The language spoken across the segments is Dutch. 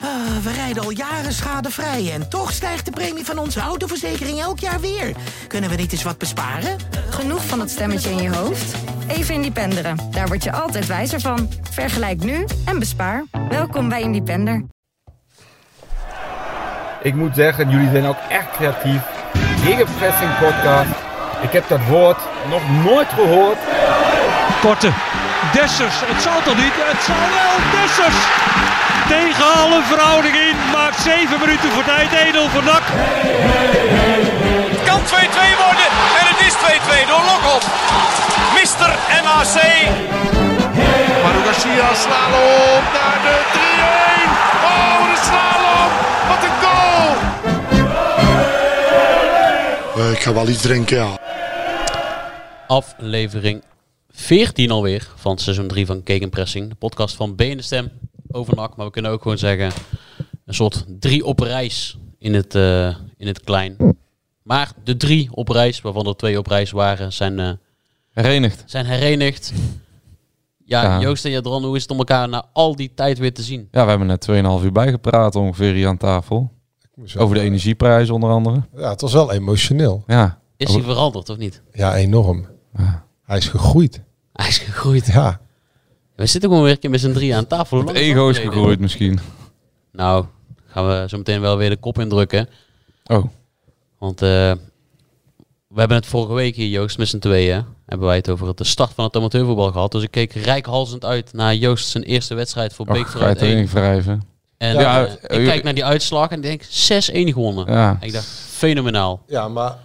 Ah, we rijden al jaren schadevrij en toch stijgt de premie van onze autoverzekering elk jaar weer. Kunnen we niet eens wat besparen? Genoeg van dat stemmetje in je hoofd? Even Independeren. Daar word je altijd wijzer van. Vergelijk nu en bespaar. Welkom bij Independer. Ik moet zeggen, jullie zijn ook echt creatief. Gegenpressing podcast. Ik heb dat woord nog nooit gehoord. Korte. Dessers. Het zal toch niet? Het zal wel. Dessers. Tegen alle verhouding in. Maakt 7 minuten voor tijd. Edel van Dak. Het kan 2-2 worden. En het is 2-2 door Lokop. Mister MAC. Maru Garcia slalom naar de 3-1. Oh, de slalom. Wat een goal. Eh, ik ga wel iets drinken, ja. aflevering 14 alweer van seizoen 3 van Kekenpressing. De podcast van B in de Stem over NAC. Maar we kunnen ook gewoon zeggen een soort drie op reis in het, eh, in het klein. Maar de drie op reis, waarvan er twee op reis waren, zijn, eh, Herenigd. zijn herenigd. Ja, Ja. Joost en Jadran, hoe is het om elkaar na al die tijd weer te zien? Ja, we hebben net 2,5 uur bijgepraat ongeveer hier aan tafel. Over de energieprijs onder andere. Ja, het was wel emotioneel. Ja, Is hij veranderd of niet? Ja, enorm. Ah. Hij is gegroeid. Hij is gegroeid. Ja. We zitten gewoon weer een keer met z'n drieën aan tafel. Hoe het lang ego dat is geleden? gegroeid misschien. Nou, gaan we zo meteen wel weer de kop indrukken. Oh, Want eh, we hebben het vorige week hier, Joost, met z'n tweeën, hebben wij het over het, de start van het amateurvoetbal gehad. Dus ik keek reikhalzend uit naar Joost zijn eerste wedstrijd voor och, ga je Beekveld het erin 1. wrijven. En Ja, eh, eh, ik eh, kijk naar die uitslag en denk 6-1 gewonnen. Ja. En ik dacht, fenomenaal. ja, maar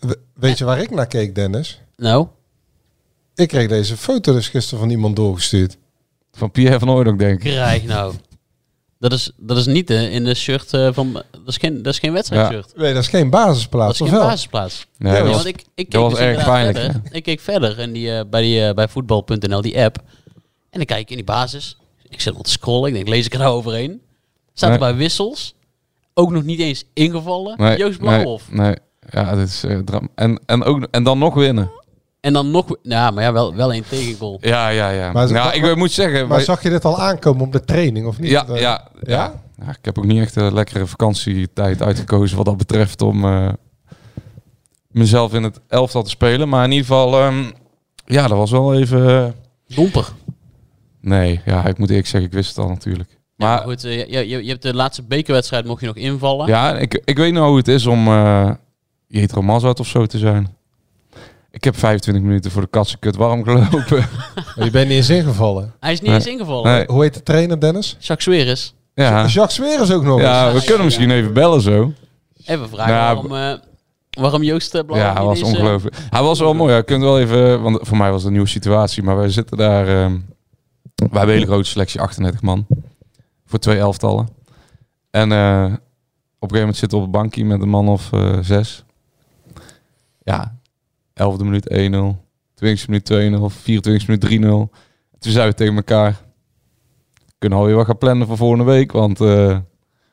we- weet je waar ik naar keek, Dennis? Nou, Ik kreeg deze foto dus gisteren van iemand doorgestuurd. Van Pierre van Ooydonk denk ik. krijg nou. Dat is, dat is niet eh, in de shirt eh, van... Dat is geen, dat is geen wedstrijdshirt. Nee, dat is geen Dat is basisplaats, of geen wel? basisplaats. Nee, Ja, dat Ja, was- want ik, ik keek was dus erg inderdaad pijnlijk, verder. Ik keek verder en die, eh, bij, die, eh, bij voetbal.nl, die app. En dan kijk ik in die basis. Ik zit wat te scrollen. Ik denk, lees ik er nou overheen? Staat er Nee. bij wissels. Ook nog niet eens ingevallen. nee, Joost nee, Blauwhof. nee. Ja, dit is eh, dram- en, en, ook, en dan nog winnen. En dan nog... Nou, maar ja, wel, wel één tegengoal. Ja, ja, ja. Maar- nou, ik moet zeggen... Maar wij- zag je dit al aankomen op de training, of niet? eh? ja, Dat- ja, ja, Ja? Ja, Ik heb ook niet echt een lekkere vakantietijd uitgekozen wat dat betreft om eh, mezelf in het elftal te spelen. Maar in ieder geval, ehm, ja, dat was wel even... eh, Domper. Nee, ja, ik moet eerlijk zeggen, ik wist het al natuurlijk. Maar Maar goed, eh, je, je, je hebt de laatste bekerwedstrijd mocht je nog invallen. ja, ik, ik weet nou hoe het is om eh Jetro Mazat of zo te zijn. Ik heb 25 minuten voor de katsenkut warm gelopen. Maar je bent niet eens ingevallen. Hij is niet Nee. eens ingevallen. Nee, Hoe heet de trainer, Dennis? Jacques Suarez. ja. Jacques Sweres ook nog eens. ja, we kunnen misschien even bellen zo. Even vragen Nou, waarom, eh, waarom Joost eh, Blauwhof Ja, hij niet was eens, eh, ongelooflijk. Hij was wel mooi. Je kunt wel even, want voor mij was het een nieuwe situatie. Maar wij zitten daar. ehm, wij hebben een hele grote selectie, 38 man. Voor twee elftallen. En eh, op een gegeven moment zitten we op een bankje met een man of eh, zes. Ja, 11e minuut 1-0. 20e minuut 2-0. 24e minuut 3-0. Toen zeiden we tegen elkaar. "We Kunnen alweer wat gaan plannen voor volgende week. Want eh, we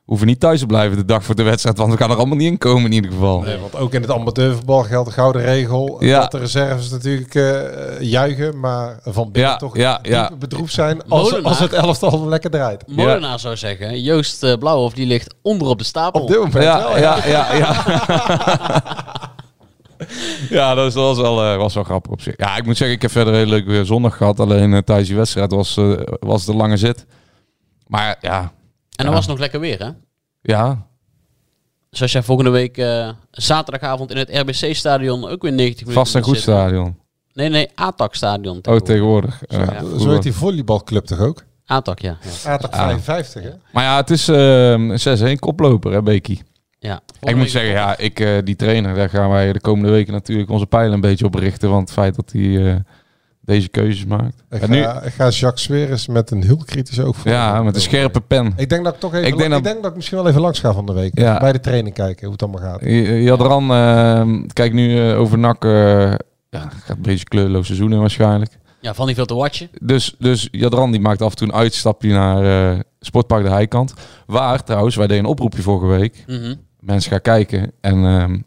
hoeven niet thuis te blijven de dag voor de wedstrijd. Want we gaan er allemaal niet in komen in ieder geval. Nee, want ook in het amateurvoetbal geldt de gouden regel. Ja. Dat de reserves natuurlijk eh, juichen, maar van binnen Ja, toch ja, ja. diep bedroefd zijn als, Molenaar. als het elftal lekker draait. Molenaar zou zeggen, Joost eh, Blauwhof die ligt onder op de stapel. Op dit moment wel, Ja, ja. ja, ja, ja. ja, dat is- dat was wel, eh, was wel grappig op zich. Ja, ik moet zeggen, ik heb verder een hele leuke eh, zondag gehad. Alleen eh, tijdens die wedstrijd was, eh, was de lange zit. Maar ja, En dan Ja. was het nog lekker weer, hè? ja, Dus als jij volgende week eh, zaterdagavond in het RBC-stadion ook weer 90 minuten... vast en moet goed zitten. stadion. Nee, nee, ATAC-stadion. Oh, tegenwoordig. eh, Ja. Zo vroeger. heet die volleybalclub toch ook? ATAC, ja. ja. ATAC Ah. 55, hè? Maar ja, het is eh 6-1 koploper, hè, Beekie. ja. Ik moet zeggen, ja, ik, eh, die trainer, daar gaan wij de komende weken natuurlijk onze pijlen een beetje op richten. Want het feit dat hij eh, deze keuzes maakt. Ik En nu, ga, ik ga Jacques Sweres met een heel kritisch oog voor. ja, met een scherpe pen. Ik denk dat ik toch even. Ik Ik denk denk, dat- ik, misschien wel even langs ga van de week. Ja. Bij de training kijken hoe het allemaal gaat. J- Jadran, eh, kijk nu eh, over NAC. eh, ja, het gaat een beetje een kleurloos seizoen in waarschijnlijk. Ja, van die veel te watchen. Dus, dus Jadran die maakt af en toe een uitstapje naar eh, Sportpark de Heikant. Waar trouwens, wij deden een oproepje vorige week. Mhm. Mensen gaan kijken. En ehm,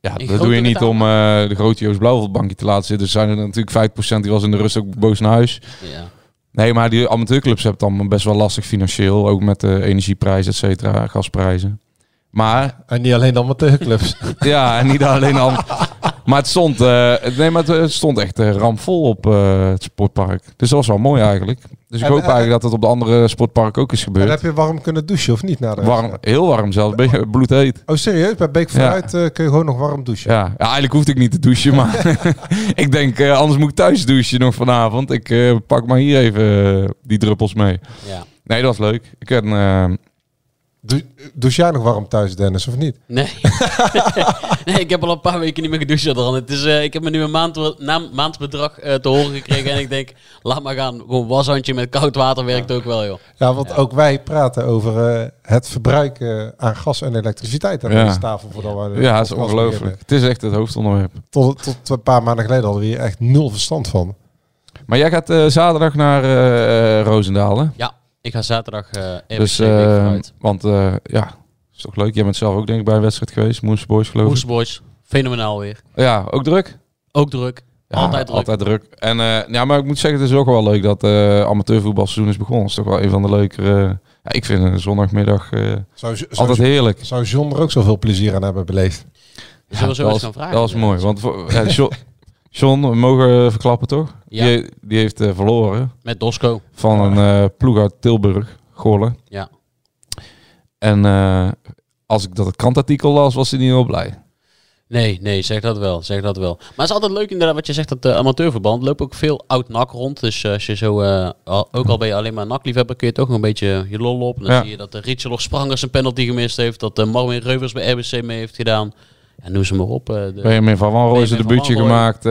ja, dat grote doe je niet getalen. om Dus eh, de grote Joost Blauw op het bankje te laten zitten. Er zijn er natuurlijk 5% die was in de rust ook boos naar huis. Ja. Nee, maar die amateurclubs hebben het allemaal best wel lastig financieel. Ook met de energieprijzen, et cetera, gasprijzen. Maar En niet alleen de amateurclubs. ja, en niet alleen al. Maar het stond, eh, nee, maar het, eh, stond echt eh, ramvol op eh, het sportpark. Dus dat was wel mooi eigenlijk. Dus ik En, hoop eh, eigenlijk dat het op de andere sportparken ook is en eh, gebeurd. heb je warm kunnen douchen of niet? Na de Warm, heel warm zelfs, een beetje bloedheet. Oh, serieus? Bij Beek vooruit eh, kun je gewoon nog warm douchen. Ja. ja, eigenlijk hoefde ik niet te douchen, maar ik denk, eh, anders moet ik thuis douchen nog vanavond. Ik eh, pak maar hier even eh, die druppels mee. Ja. Nee, dat was leuk. Ik heb een, eh, Dou- douche jij nog warm thuis, Dennis, of niet? Nee. nee, ik heb al een paar weken niet meer gedoucht. Adrian. Het is, eh, ik heb me nu een maand, na, maandbedrag eh, te horen gekregen. en ik denk, laat maar gaan. Gewoon washandje met koud water werkt ook wel, joh. Ja, want ook wij praten over eh, het verbruik eh, aan gas en elektriciteit aan Ja. deze tafel. Voordat we de ja, het is podcast ongelooflijk. beginnen. Het is echt het hoofdonderwerp. Tot, tot een paar maanden geleden hadden we hier echt nul verstand van. Maar jij gaat eh, zaterdag naar eh, eh, Roosendaal, hè? Ja, ik ga zaterdag eh RBC Dus, week eh, vooruit. want eh, ja, is toch leuk. Jij bent zelf ook denk ik bij een wedstrijd geweest, Moose Boys geloof ik. Hoes Boys, fenomenaal weer. Ja, ook druk. Ook druk. Ja, altijd druk. Altijd druk. En eh, ja, maar ik moet zeggen, het is ook wel leuk dat eh amateurvoetbalseizoen is begonnen. Het is toch wel een van de leukere. ja, ik vind een zondagmiddag eh, Zou, zou, altijd heerlijk. zou John er ook zoveel plezier aan hebben beleefd? Zullen we Ja, zo dat eens was- gaan vragen? Dat was mooi. Want voor, ja, John, John, we mogen eh, verklappen toch? Ja. Die, die heeft eh, verloren Met Dosco. van een eh, ploeg uit Tilburg, Goorlen. Ja. En eh, als ik dat krantartikel las, was hij niet heel blij. Nee, nee, zeg dat wel. Zeg dat wel. Maar het is altijd leuk inderdaad wat je zegt, dat eh amateurverband. Er loopt ook veel oud nak rond. Dus eh, als je zo, eh, al- ook al ben je alleen maar nakliefhebber, kun je toch nog een beetje je lol op. En dan Ja. zie je dat de Richel of Sprangers een penalty gemist heeft. Dat de Marwin Reuvers bij RBC mee heeft gedaan. En noem ze maar op. eh, de- Benjamin van Wanrooy is een Benjamin van debuutje gemaakt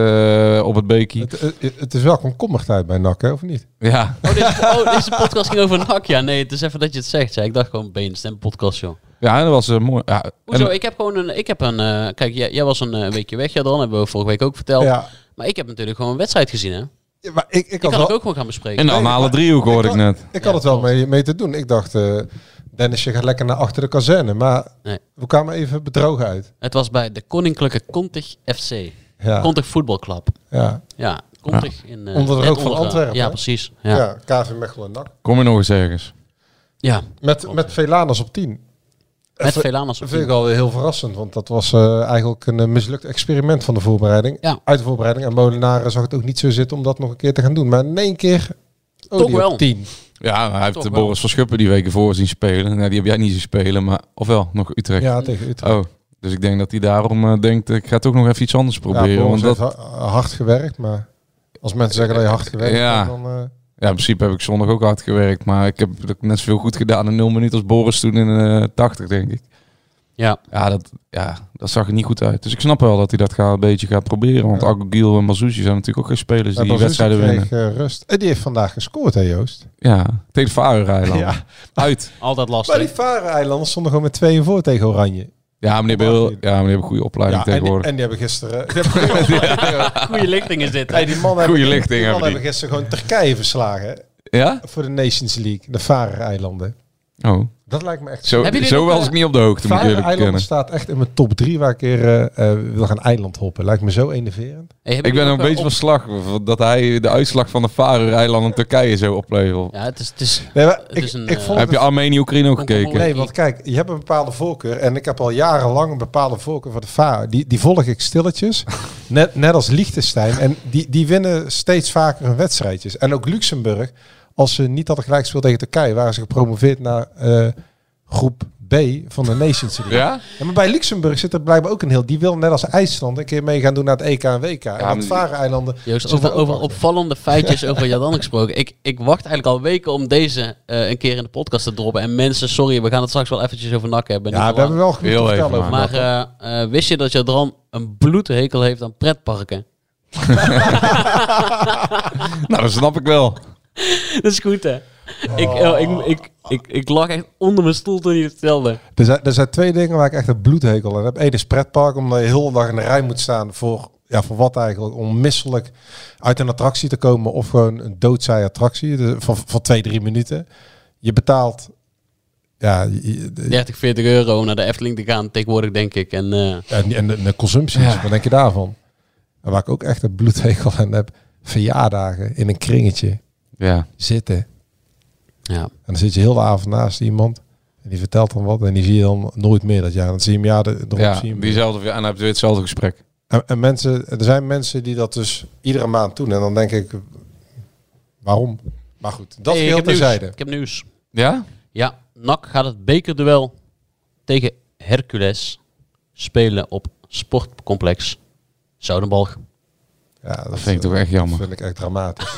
eh, op het Beekie. Het, het, het is wel komkommer tijd bij NAC, hè, of niet? Ja, Oh, deze, oh, deze podcast ging over nak. Ja, nee, het is even dat je het zegt. Ja, ik dacht gewoon beenstem podcast, joh. ja en dat was eh, mooi. Ja, en- Hoezo? Ik heb gewoon een. Ik heb een eh, kijk, jij, jij was een eh, weekje weg, ja, dan hebben we vorige week ook verteld. Ja. Maar ik heb natuurlijk gewoon een wedstrijd gezien, hè? Ja, maar ik, ik, Ik had, kan het wel, ook gewoon gaan bespreken. in de anale Nou, driehoek hoorde ik had- net. ik had het wel mee, mee te doen. Ik dacht, eh, Dennis, je gaat lekker naar achter de kazerne. Maar Nee. we kwamen even bedrogen uit. Het was bij de Koninklijke Contig FC. Ja, Contig voetbalclub. ja. Ja, Contig in. eh, Onder de net rook van onder, eh, Antwerpen, Ja, hè? precies. Ja. ja. Ja. KV Mechelen en NAC. Kom je nog eens ergens. Met, met Velanus op 10. Met Even- Velanus op Dat vind ik tien. al heel verrassend, want dat was eh, eigenlijk een eh, mislukt experiment van de voorbereiding. Ja. Uit de voorbereiding. En Molenaar zag het ook niet zo zitten om dat nog een keer te gaan doen. Maar in één keer... Oh, Toch die op wel. 10. Ja, hij heeft Toch de wel. Boris van Schuppen die weken voor zien spelen. Nou, die heb jij niet zien spelen, maar ofwel nog Utrecht. Ja, tegen Utrecht. Oh, dus ik denk dat hij daarom eh, denkt, ik ga toch nog even iets anders proberen. Ja, want Boris dat, heeft ha- hard gewerkt, maar als mensen zeggen dat je hard gewerkt Ja. hebt, dan... eh, ja, in principe heb ik zondag ook hard gewerkt, maar ik heb net zoveel goed gedaan in 0 minuten als Boris toen in eh 80, denk ik. Ja. Ja dat, ja, dat zag er niet goed uit. Dus ik snap wel dat hij dat gaat, een beetje gaat proberen. Want Ja. Agogiel en Mazouzi zijn natuurlijk ook geen spelers maar die Basuki wedstrijden kreeg, winnen. eh, rust. En die heeft vandaag gescoord, hè Joost? Ja, tegen Vareureiland. Ja. Uit. Altijd Maar die lastig. Varen-eilanders stonden gewoon met 2 voor tegen Oranje. Ja, maar die hebben, heel- ja, maar die hebben een goede opleiding Ja, en, die, tegenwoordig. en die hebben gisteren... Die hebben Goede lichting is dit. hè? Hey, die mannen Goeie hebben- lichting die hebben mannen die. hebben gisteren gewoon Turkije verslagen. hè, ja? Voor de Nations League. De Vareren-eilanden. Oh. Dat lijkt me echt... Zo, Hebben jullie zo ook, was eh, ik niet op de hoogte, moet ik eerlijk Vareren-eilanden bekennen. staat echt in mijn top 3 waar ik een keer eh, eh, wil gaan eiland hoppen. Lijkt me zo enerverend. Hey, hebben Ik ben jullie een ook, eh, beetje van op- slag dat hij de uitslag van de Vareureilanden Turkije zo oplevert. Ja, het is. Het is Nee, maar Het ik, is een, ik eh, vond Heb je het- Armenië-Oekraïne ook gekeken? Nee, want kijk, je hebt een bepaalde voorkeur. En ik heb al jarenlang een bepaalde voorkeur voor de VAR. Die, die volg ik stilletjes. net, net als Liechtenstein. En die, die winnen steeds vaker hun wedstrijdjes. En ook Luxemburg. Als ze niet hadden gelijk gespeeld tegen Turkije, waren ze gepromoveerd naar eh, groep B van de Nations League. Ja? Ja, maar bij Luxemburg zit er blijkbaar ook een heel... Die wil net als IJsland een keer mee gaan doen naar het EK en WK. maar en die- dat Varenoilanden... Joost, zitten over, ook over achter. opvallende feitjes over Jadan gesproken. Ik, ik wacht eigenlijk al weken om deze eh, een keer in de podcast te droppen. En mensen, sorry, we gaan het straks wel eventjes over nak hebben. Ja, Niet te we hebben lang. wel genoeg Heel te even, vertellen over Maar dat. eh, eh, wist je dat Jadran een bloedhekel heeft aan pretparken? Nou, dat snap ik wel. dat is goed, hè? Ik, Oh. eh, ik, ik, ik, ik lag echt onder mijn stoel toen je het vertelde. Er zijn, er zijn twee dingen waar ik echt een bloedhekel aan heb. Eén is pretpark, omdat je heel de dag in de rij moet staan voor, ja, voor wat eigenlijk? Om misselijk uit een attractie te komen of gewoon een doodzaai attractie dus van, van twee, drie minuten. Je betaalt, ja, je- je- 30, 40 euro om naar de Efteling te gaan tegenwoordig, denk ik. En eh, en, en de, de consumptie, is, wat denk je daarvan? En waar ik ook echt een bloedhekel aan heb, verjaardagen in een kringetje. Ja, zitten. Ja. En dan zit je heel de avond naast iemand. En die vertelt dan wat. En die zie je dan nooit meer dat jaar. En dan zie je hem ja, de, erop ja zie je hem. diezelfde, ja, en dan heb je weer hetzelfde gesprek. En, en mensen, er zijn mensen die dat dus iedere maand doen. En dan denk ik, waarom? Maar goed, dat Hey, geheel ik heb nieuws. terzijde. Ik heb nieuws. Ja? Ja, NAC gaat het bekerduel tegen Hercules spelen op sportcomplex Zoudenbalg. Ja, dat, eh, Dat vind ik toch echt jammer. vind ik echt dramatisch.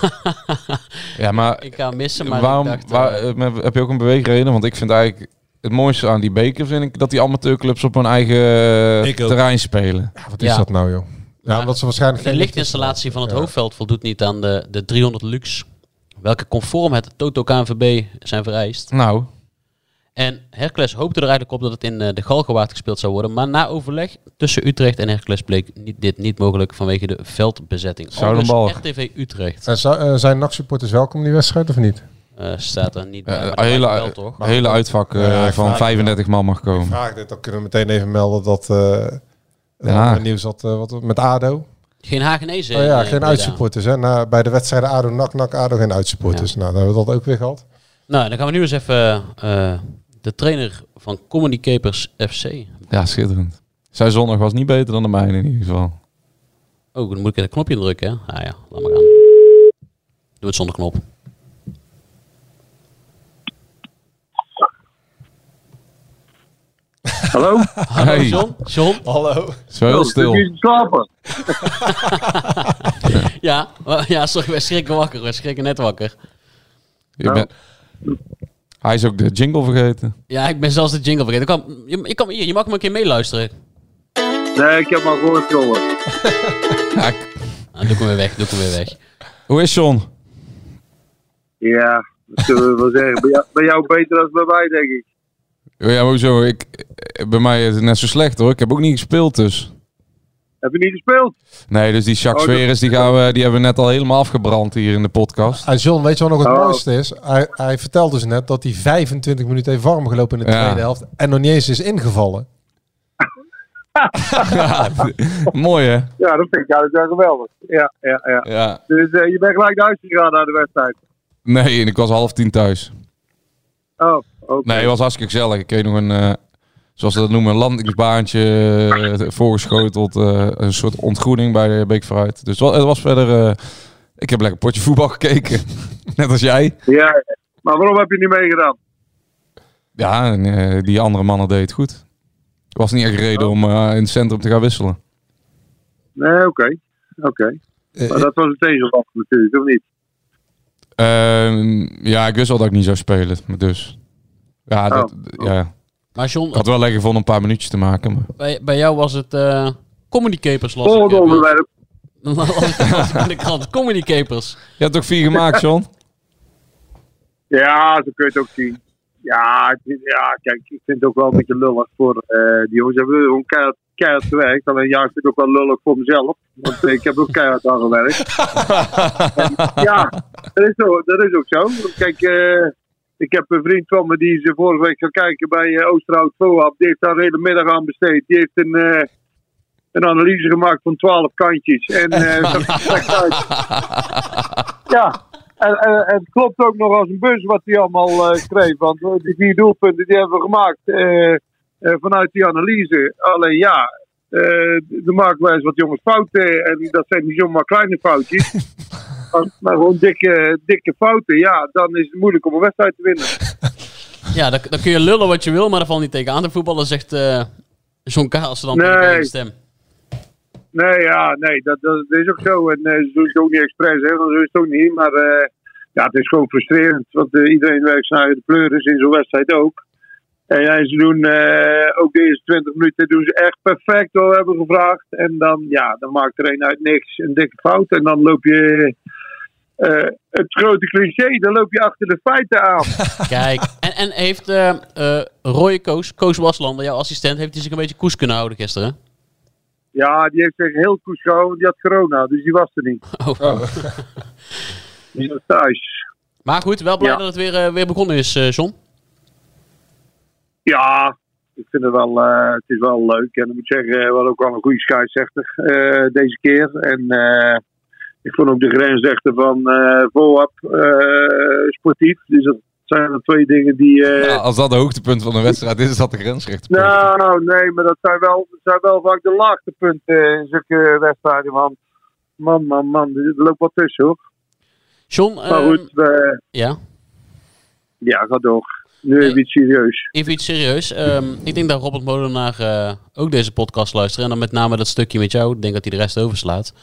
Ja, maar Ik ga missen, maar waarom ik dacht, eh, waar- eh, heb je ook een beweegreden? Want ik vind eigenlijk het mooiste aan die beker vind ik dat die amateurclubs op hun eigen eh, Ik ook. terrein spelen. Ja, wat Ja. is dat nou, joh? Ja, Maar omdat ze waarschijnlijk de geen lichtinstallatie van het Ja. hoofdveld voldoet niet aan de, de 300 lux, welke conform het Toto KNVB zijn vereist. Nou, En Hercules hoopte er eigenlijk op dat het in eh, de Galgenwaard gespeeld zou worden, maar na overleg tussen Utrecht en Hercules bleek niet, dit niet mogelijk vanwege de veldbezetting. dus Zoudenbalg. Aldus RTV Utrecht En zou- eh, zijn NAC-supporters welkom in die wedstrijd of niet? eh, staat er niet bij. eh, maar dat hele, lijkt me wel, toch? hele uitvak eh, Ja, ik vraag van het 35 man mag komen. Vraag dit, Ah, dan kunnen we meteen even melden dat... eh Den Haag. het nieuws dat eh, wat met ADO. Geen Hagenezen. oh ja, eh, geen Breda. uitsupporters. Hè? Na, bij de wedstrijden ADO, NAC, NAC, ADO geen uitsupporters. Nou, dan hebben we dat ook weer gehad. Nou, dan gaan we nu eens even eh, de trainer van Comedy Capers FC. Ja, schitterend. Zijn zondag was niet beter dan de mijne in ieder geval. Oh, dan moet ik het knopje drukken, hè? Ah ja, laat maar gaan. Doe het zonder knop. Hallo? Hallo, Hey. Oh, John. John? Hallo. Het is wel Nou, heel stil. Ik slapen. Ja, wa- ja, sorry, wij schrikken wakker. Wij schrikken net wakker. Je bent- Hij is ook de jingle vergeten. Ja, ik ben zelfs de jingle vergeten. Ik kan, je, ik kan, hier, je mag me een keer meeluisteren. Nee, ik heb maar gehoord, jongen. Ja, ik- Ah, doe ik hem weer weg, doe ik hem weer weg. hoe is John? Ja, dat zullen we wel zeggen. Bij jou, bij jou beter dan bij mij, denk ik. Ja, hoezo? Ik, eh, bij mij is het net zo slecht hoor. Ik heb ook niet gespeeld dus. Heb je niet gespeeld? Nee, dus die Jacques Oh, dat- Veres, die, gaan we, die hebben we net al helemaal afgebrand hier in de podcast. En John, weet je wat nog het Oh. mooiste is? Hij, hij vertelde dus net dat hij 25 minuten heeft warm gelopen in de Ja. tweede helft. En nog niet eens is ingevallen. Mooi hè? Ja, dat vind ik eigenlijk wel geweldig. Ja, ja, ja. Ja. Dus eh, je bent gelijk naar huis gegaan na de wedstrijd. Nee, en ik was half tien thuis. Oh, oké. Nee, het was hartstikke gezellig. Ik kreeg nog een, eh, zoals ze dat noemen, een landingsbaantje eh, voorgeschoteld. eh, een soort ontgroening bij Beek vooruit. Dus het was, het was verder... eh, ik heb lekker potje voetbal gekeken. net als jij. Ja, maar waarom heb je niet meegedaan? Ja, en, eh, die andere mannen deed het goed. was niet echt reden om eh, in het centrum te gaan wisselen. Nee, oké. Oké. Eh, Maar dat was een tegenvaller natuurlijk, of niet? Ehm, ja, ik wist al dat ik niet zou spelen. Maar dus... Ja, dat, Oh. ja, Maar John, ik had wel lekker gevonden om een paar minuutjes te maken. Maar... bij, bij jou was het eh Comedy Capers las ik, Volgend eh, onderwerp. las ik- las ik in de krant. Comedy Capers. Je hebt toch vier gemaakt, John? Ja, zo kun je het ook zien. Ja, ik vind- ja, kijk, ik vind het ook wel een beetje lullig voor eh, die jongens. Ze hebben gewoon keihard, keihard gewerkt. Alleen ja, ik vind het ook wel lullig voor mezelf. Want eh, ik heb ook keihard aan gewerkt. En ja, dat is, zo, dat is ook zo. Want Kijk, eh, ik heb een vriend van me die is eh, vorige week gaan kijken bij eh, Oosterhout Voab. Die heeft daar de hele middag aan besteed. Die heeft een, eh, een analyse gemaakt van 12 kantjes. En eh, dat ziet er slecht uit. Ja, en, en, en het klopt ook nog als een bus wat hij allemaal eh, schreef. Want eh, die vier doelpunten die hebben we gemaakt eh, eh, vanuit die analyse. Alleen ja, eh er maken wij eens wat jongens fouten. En dat zijn niet zomaar kleine foutjes. maar, maar gewoon dikke, dikke fouten. Ja, dan is het moeilijk om een wedstrijd te winnen. Ja, dan, dan kun je lullen wat je wil, maar daar valt niet tegen aan. De voetballer zegt eh John Kaas dan Nee. tegen de stem. Nee, ja, nee, dat, dat, dat is ook zo. En eh, ze doen het ook niet expres, hè, want zo is het ook niet. Maar eh, ja, het is gewoon frustrerend, want eh, iedereen werkt naar de pleuris in zo'n wedstrijd ook. En ja, ze doen eh, ook de eerste 20 minuten doen ze echt perfect wat we hebben gevraagd. En dan, ja, dan maakt er een uit niks een dikke fout. En dan loop je eh, het grote cliché, dan loop je achter de feiten aan. Kijk, en, en heeft eh eh, Roy Koos, Koos Waslander, jouw assistent, heeft hij zich een beetje koers kunnen houden gisteren? Ja, die heeft zich heel koes gehouden, die had corona, dus die was er niet. Oh. Die was thuis. Maar goed, wel blij Ja. dat het weer, eh, weer begonnen is, eh John. Ja, ik vind het wel, eh, het is wel leuk. En ik moet zeggen, we hadden ook wel een goede scheidsrechter eh, deze keer. En eh, Ik vond ook de grensrechten van eh Voab eh, sportief. Dus dat zijn de twee dingen die... eh, Ja, als dat de hoogtepunt van de wedstrijd is, is dat de grensrechter. nou, nee, maar dat zijn wel, dat zijn wel vaak de laagste punten in zulke wedstrijden. Want man, man, man, er loopt wat tussen hoor. John, Maar ehm, goed, eh, ja, ja, ga door. Nu even iets serieus. even iets serieus. Ehm, ik denk dat Robert Molenaar eh, ook deze podcast luistert. En dan met name dat stukje met jou. Ik denk dat hij de rest overslaat.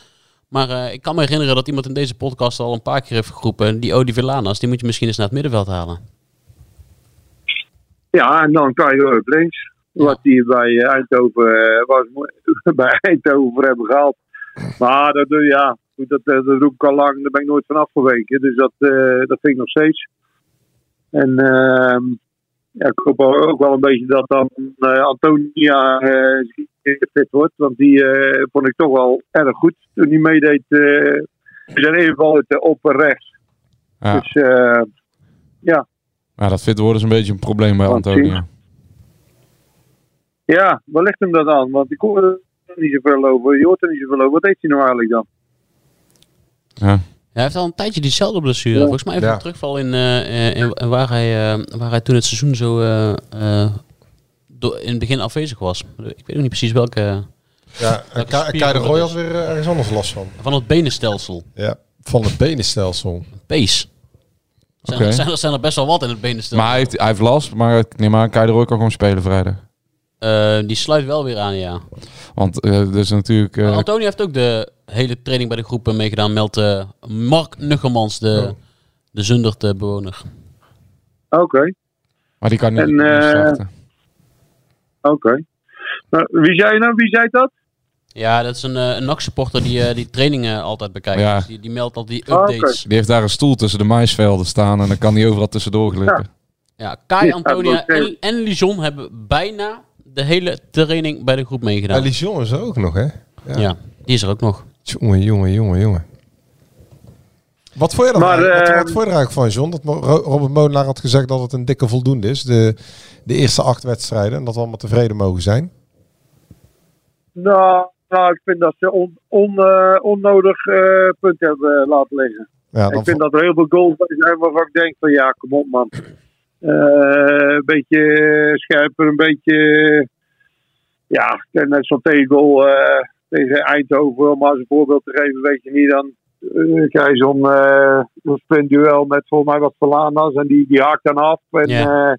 Maar eh, ik kan me herinneren dat iemand in deze podcast al een paar keer heeft geroepen. Die Odi Villanas, die moet je misschien eens naar het middenveld halen. Ja, en dan kan je op links. Wat die bij Eindhoven, eh, was, bij Eindhoven voor hebben gehaald. Maar dat, doe- ja, goed, dat, eh, dat roep ik al lang, daar ben ik nooit van afgeweken. Dus dat, eh, dat vind ik nog steeds. En ehm, ja, ik hoop al- ook wel een beetje dat dan eh, Antonia eh, fit wordt. Want die eh, vond ik toch wel erg goed toen hij meedeed. eh we zijn even wel het eh, op en rechts. Ja. Dus eh, Ja, dat fit worden is een beetje een probleem bij Want Antonio. Ja, waar ligt hem dat aan? Want ik hoor er niet zoveel over. Je hoort er niet zoveel over. Wat deed hij nou eigenlijk dan? Ja. Ja, hij heeft al een tijdje diezelfde blessure. Volgens mij even Ja. een terugval in, eh, eh, in- in waar, hij, eh, waar hij toen het seizoen zo eh, eh, door- in het begin afwezig was. Ik weet ook niet precies welke. Ja, en Ka- en spier Kai de dat Roy is. had weer eh, ergens anders last van. Van het benenstelsel. Ja, van het benenstelsel. Pees. Zijn, Oké. er, zijn, er, zijn er best wel wat in het benenstelsel. Maar hij heeft, hij heeft last, maar ik neem aan, Kai de Roy kan gewoon spelen vrijdag. Eh, die sluit wel weer aan, ja. Want eh dus natuurlijk... eh, Maar Antonio heeft ook de hele training bij de groepen meegedaan. Meldt eh, Mark Nuggemans, de, Oh. de Zundert eh, bewoner. Oké, maar die kan niet, En, niet eh, starten. oké. Nou, wie zei nou? Wie zei dat? Ja, dat is een, eh, een NAC-supporter die eh, die trainingen altijd bekijkt. Ja. Dus die, die meldt al die Ah, oké. updates. Die heeft daar een stoel tussen de maisvelden staan en dan kan hij overal tussendoor glippen. Ja, Kai, Ja, Antonia oké. en, en Lijon hebben bijna de hele training bij de groep meegedaan. En Lijon is er ook nog, hè? ja. die is er ook nog. Jongen, jongen, jongen, jongen. Wat vond je er, Maar, wat, eh, wat vond je er eigenlijk van, John? Dat Mo- Ro- Robert Molenaar had gezegd dat het een dikke voldoende is. De, de eerste acht wedstrijden. En dat we allemaal tevreden mogen zijn. Nou, nou ik vind dat ze on, on, eh, onnodig eh punt hebben eh, laten liggen. Ja, dan ik vind dat er heel veel goals bij zijn waarvan ik denk van ja, kom op man. Eh, een beetje scherper, een beetje... Ja, net zo'n tegengoal eh, tegen Eindhoven. Om maar eens een voorbeeld te geven, weet je niet. Dan eh, krijg je zo'n eh, zo'n sprintduel met volgens mij wat Verlanas. En die, die haakt dan af. En, Ja. eh,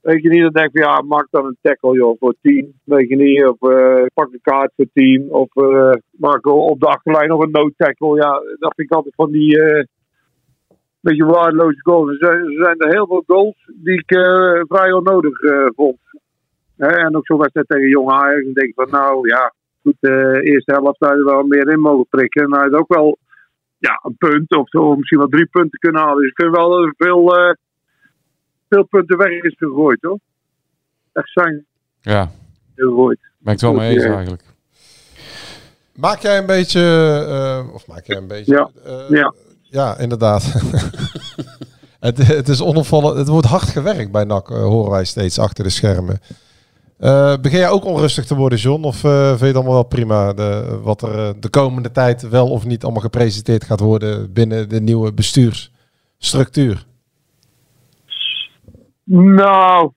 weet je niet, dan denk ik van ja, maak dan een tackle joh, voor team. Weet je niet, of eh, pak een kaart voor team. Of eh maak op de achterlijn nog een no-tackle. Ja, dat vind ik altijd van die... eh, beetje waardeloze goals. Er zijn, er zijn er heel veel goals die ik eh, vrij onnodig eh, vond. Hè, en ook zo'n wedstrijd tegen Jong Ajax. Dan denk ik van nou ja, goed, de eerste helft zou je er wel meer in mogen prikken. Maar het is ook wel ja, een punt of zo, misschien wel drie punten kunnen halen. Dus ik vind wel dat er veel, eh, veel punten weg is gegooid hoor. Echt zijn Ja, gegooid. ben ik het wel mee eens Ja. eigenlijk. Maak jij een beetje... eh, of maak jij een beetje... Ja, eh, ja. ja, inderdaad. het, het is onopvallend. Het wordt hard gewerkt bij NAC, eh, horen wij steeds achter de schermen. Eh, begin jij ook onrustig te worden, John? Of eh, vind je het allemaal wel prima? De, wat er eh, de komende tijd wel of niet allemaal gepresenteerd gaat worden binnen de nieuwe bestuursstructuur? Nou,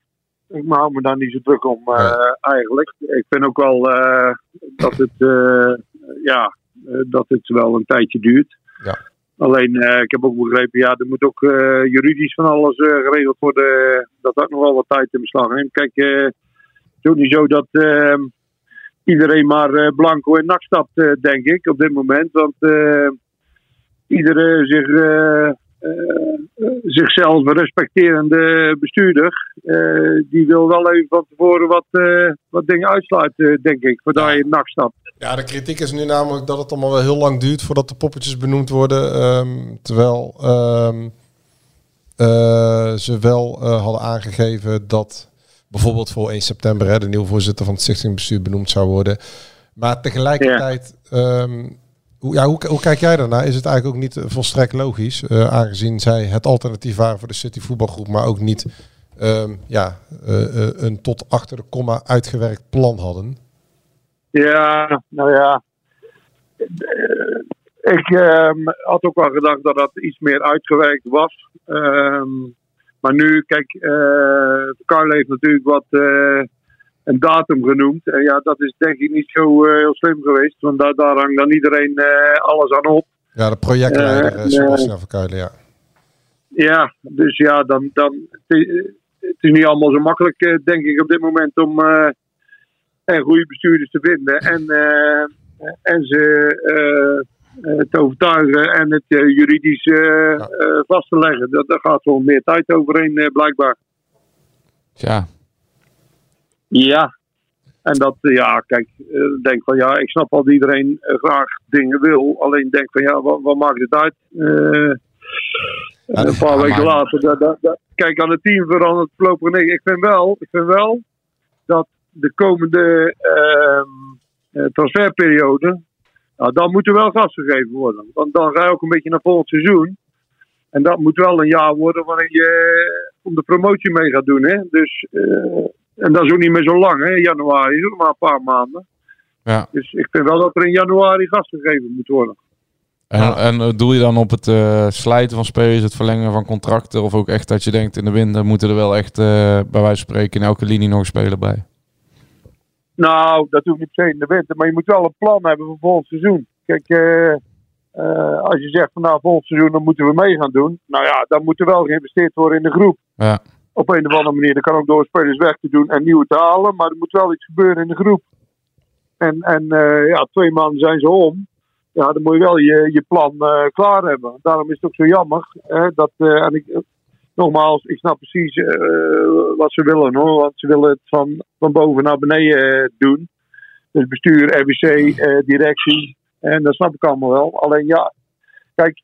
ik hou me daar niet zo druk om eh, Ja. eigenlijk. Ik vind ook wel eh, dat het, eh, ja, eh, dat het wel een tijdje duurt. Ja. Alleen, eh, ik heb ook begrepen, ja, er moet ook eh, juridisch van alles eh, geregeld worden. Dat dat nog wel wat tijd in beslag neemt. Kijk, eh, het is ook niet zo dat eh, iedereen maar eh, blanco en nak stapt, eh, denk ik, op dit moment. Want eh iedere zich... eh, eh, zichzelf respecterende bestuurder. eh, die wil wel even van tevoren wat, eh, wat dingen uitsluiten, eh, denk ik. Voordat je nacht stapt. Ja, de kritiek is nu namelijk dat het allemaal wel heel lang duurt voordat de poppetjes benoemd worden. ehm, terwijl ehm, eh, ze wel eh, hadden aangegeven dat bijvoorbeeld voor 1 september hè, de nieuwe voorzitter van het stichtingbestuur benoemd zou worden. Maar tegelijkertijd, ehm, hoe, ja, hoe, hoe kijk jij daarnaar? Is het eigenlijk ook niet eh, volstrekt logisch, eh, aangezien zij het alternatief waren voor de City voetbalgroep, maar ook niet ehm, ja, eh, eh, een tot achter de komma uitgewerkt plan hadden? Ja, nou ja. Eh, Ik ehm, had ook wel gedacht dat dat iets meer uitgewerkt was. Ehm, maar nu, kijk, eh Carl heeft natuurlijk wat eh, een datum genoemd. En ja, dat is denk ik niet zo eh, heel slim geweest. Want daar, daar hangt dan iedereen eh, alles aan op. Ja, de projectleider Eh, eh, nee. Sebastian Verkuilen, ja. Ja, dus ja, dan, dan, het is- het is niet allemaal zo makkelijk, eh, denk ik, op dit moment om eh, er goede bestuurders te vinden en, eh, en ze eh, eh, te overtuigen en het eh, juridisch eh, eh, vast te leggen. Dat, daar gaat wel meer tijd overheen, eh, blijkbaar. Ja, Ja. En dat, eh, ja, kijk, eh, denk van ja, ik snap wel dat iedereen eh, graag dingen wil. Alleen denk van ja, wat, wat maakt het uit? Eh, een paar weken maar- later. dat- dat- dat- kijk, aan het team verandert voorlopig niks. Ik vind wel, ik vind wel dat de komende ehm, eh, transferperiode. Nou, dan moet er wel gas gegeven worden. Want dan ga je ook een beetje naar volgend seizoen. En dat moet wel een jaar worden waarin je eh, om de promotie mee gaat doen. Hè? Dus, eh, en dat is ook niet meer zo lang, hè? januari, is ook maar een paar maanden. Ja. Dus ik vind wel dat er in januari gas gegeven moet worden. En, en eh, doel je dan op het eh, slijten van spelers, het verlengen van contracten? Of ook echt dat je denkt in de winter moeten er wel echt eh, bij wijze van spreken in elke linie nog een speler bij? Nou, dat hoeft niet per se in de winter. Maar je moet wel een plan hebben voor volgend seizoen. Kijk, eh, eh, als je zegt van nou, volgend seizoen dan moeten we mee gaan doen. Nou ja, dan moet er wel geïnvesteerd worden in de groep. Ja, Op een of andere manier. Dat kan ook door spelers weg te doen en nieuwe te halen. Maar er moet wel iets gebeuren in de groep. En, en eh, ja, twee maanden zijn ze om. Ja, dan moet je wel je, je plan eh, klaar hebben. Daarom is het ook zo jammer. Hè, dat, eh, en ik, nogmaals, ik snap precies eh, wat ze willen hoor. Want ze willen het van, van boven naar beneden eh, doen. Dus bestuur, RBC, eh, directie. En dat snap ik allemaal wel. Alleen ja, kijk,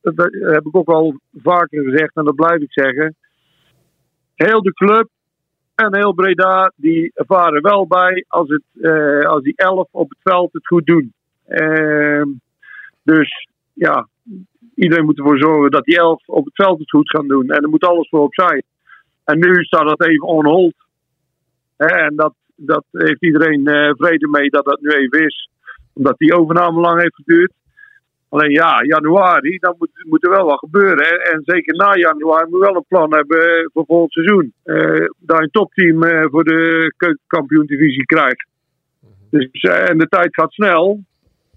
dat dat heb ik ook al vaker gezegd en dat blijf ik zeggen. Heel de club en heel Breda, die varen wel bij als, het, eh, als die elf op het veld het goed doen. Ehm, dus ja, iedereen moet ervoor zorgen dat die elf op het veld het goed gaan doen. En er moet alles voor opzij. En nu staat dat even on hold. Hè, en dat, dat heeft iedereen eh, vrede mee dat dat nu even is. Omdat die overname lang heeft geduurd. Alleen ja, januari, dan moet, moet er wel wat gebeuren. hè. En zeker na januari moet je wel een plan hebben eh, voor volgend seizoen. Eh dat je een topteam eh, voor de keukenkampioen-divisie krijgt. Dus, eh, en de tijd gaat snel.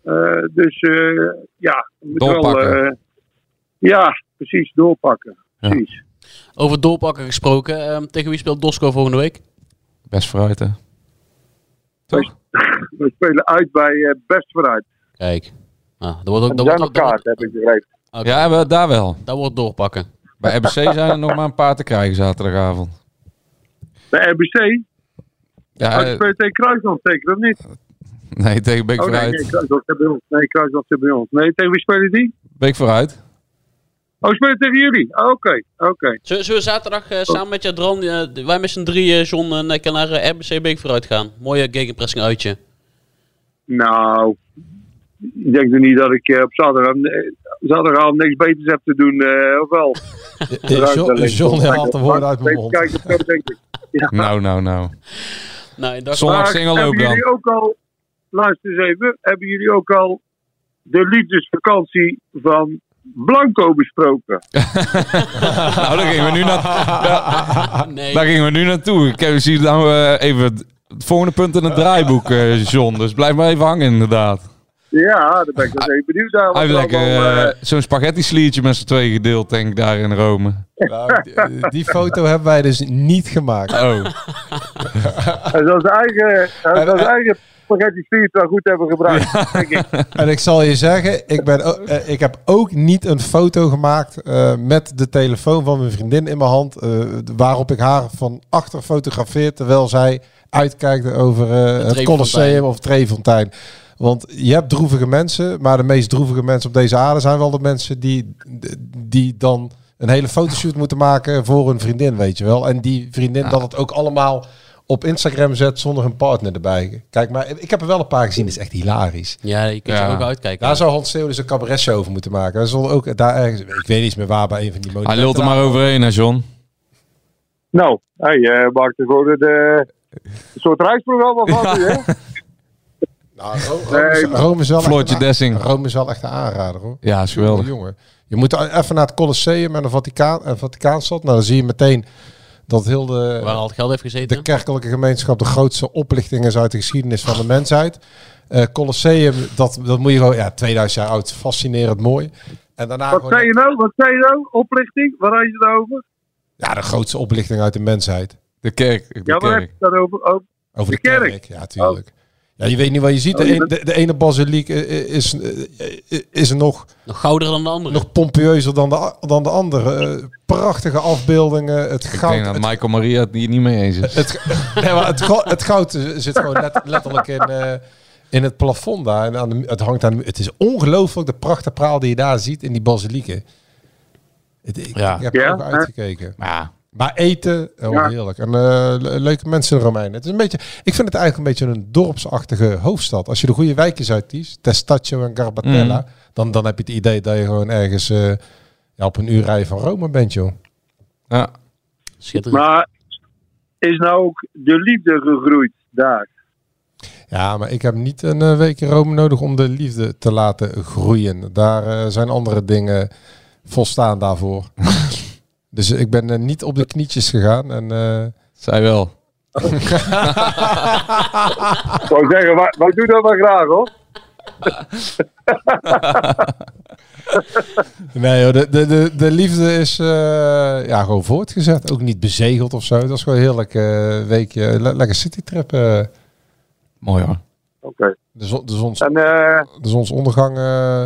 Eh, dus eh, ja, je moet wel... Doorpakken. eh, ja, precies, doorpakken. Ja. Precies. Over doorpakken gesproken. ehm, tegen wie speelt Dosco volgende week? best vooruit hè. Toch? We spelen uit bij eh, Best vooruit. Kijk. Ah, dat wordt ook, En dat zijn wordt, nog dat wordt- kaart, heb ik begrepen. Oké. Ja, wel, daar wel. dat wordt doorpakken. Bij RBC zijn er nog maar een paar te krijgen zaterdagavond. Bij RBC? Ja, Uit de eh, PT Kruisland zeker, of niet? nee, tegen Beek Oh nee, nee, vooruit. Kruisland zit bij ons. Nee, Kruisland zit bij ons. Nee, tegen wie spelen die? Beek vooruit. Oh, spelen tegen jullie? Ah, Oké, oké. Zullen, zullen we zaterdag eh, samen met Jadran, eh, d- wij met z'n drieën, John en ik, naar eh, RBC Beek vooruit gaan? Mooie gegenpressing uitje. Nou, ik denk nu niet dat ik eh, op zaterdag, eh, zaterdagavond niks beters heb te doen, eh, of wel? Eh, John, John haalt de woorden uit mijn Even mond. kijken of dat denk ik. Ja. Nou, nou, nou. Nou, ik dacht, Zondag Maar singelloop hebben dan. jullie ook al, luister eens even, hebben jullie ook al de liefdesvakantie van Blanco besproken? Nou, daar gingen we nu, naar, daar, nee. daar gingen we nu naartoe. Ik heb- zie nou eh, even het het volgende punt in het draaiboek, eh, John. Dus blijf maar even hangen inderdaad. Ja, daar ben ik wel even benieuwd naar. wat Hij er heeft lekker allemaal, eh, eh, zo'n spaghetti sliertje met z'n tweeën gedeeld, denk ik, daar in Rome. Nou, die- die foto hebben wij dus niet gemaakt. Oh, Hij zal eh, zijn eigen, hij zal zijn eigen spaghetti street wel goed hebben gebruikt. denk ik. En ik zal je zeggen, ik, ben, o- eh, ik heb ook niet een foto gemaakt eh, met de telefoon van mijn vriendin in mijn hand. eh, waarop ik haar van achter fotografeer terwijl zij uitkijkt over eh, het Trefontein. Colosseum of Trefontein. Want je hebt droevige mensen, maar de meest droevige mensen op deze aarde zijn wel de mensen die, die dan een hele fotoshoot moeten maken voor hun vriendin, weet je wel. En die vriendin dat het ook allemaal op Instagram zet zonder een partner erbij. Kijk, maar ik heb er wel een paar gezien, dat is echt hilarisch. Ja, je kunt Ja. je ook uitkijken. Daar zou Hans Steeuw dus een cabaretshow over moeten maken. Hij zal ook daar ergens, ik weet niet meer waar, bij een van die hij monumenten. lult er maar overheen, hè, John? Nou, hij eh maakt er gewoon een, eh, een soort reisprogramma van nu, hè? Nou, Ro- Rome, is, Nee. Rome is wel Floortje echt een a- Dessing. Rome is wel echt een aanrader hoor. Ja, is Jongen, geweldig. jongen. Je moet even naar het Colosseum en de Vaticaan, en Vaticaanstad. Nou, dan zie je meteen dat heel de, Waar al het geld heeft gezeten. de kerkelijke gemeenschap de grootste oplichting is uit de geschiedenis van de mensheid. Eh, Colosseum, dat, dat moet je gewoon, ja, 2000 jaar oud, fascinerend mooi. En daarna Wat gewoon zei je nou? Wat zei je nou? Oplichting? Waar had je het over? ja, de grootste oplichting uit de mensheid. De kerk. De Ja, waar heb kerk. je het dan over? Oh, Over de, De kerk. kerk. Ja, tuurlijk. Ja, je weet niet wat je ziet. De, Oh, je een- bent- de, de ene basiliek eh, eh, is, eh, eh, is nog, Nog gouder dan de andere. nog pompeuzer dan de, a- dan de andere. Eh, prachtige afbeeldingen. Het Ik denk goud. dat Het, Michael Maria het hier niet mee eens is. het, nee, maar het, go- het goud eh, zit gewoon let- letterlijk in, eh, in het plafond daar. En aan de, mu- het hangt aan de mu- Het is ongelooflijk de pracht en praal die je daar ziet in die basilieken. Het, ik, Ja. ik heb Ja, er ook hè? uitgekeken. Maar ja, Maar eten, oh, Ja. heerlijk. En eh, le- leuke mensen in Romeinen. Het is een beetje, ik vind het eigenlijk een beetje een dorpsachtige hoofdstad. Als je de goede wijkjes uitkiest, Testaccio en Garbatella, Mm. dan, dan heb je het idee dat je gewoon ergens eh, ja, op een uur rijden van Rome bent, joh. ja. Schitterend. maar is nou ook de liefde gegroeid daar? Ja, maar ik heb niet een eh, week in Rome nodig om de liefde te laten groeien. Daar eh, zijn andere dingen volstaan daarvoor. dus ik ben eh, niet op de knietjes gegaan. En, eh, zij wel. Ik wou zeggen, wij, wij doen dat wel graag hoor. Nee, joh, de, de, de, de liefde is eh, ja, gewoon voortgezet. Ook niet bezegeld of zo. Dat is gewoon een heerlijk eh, weekje. Le- lekker citytrip. eh. Mooi hoor. Oké. de, zon, de, zons, En eh, de zonsondergang eh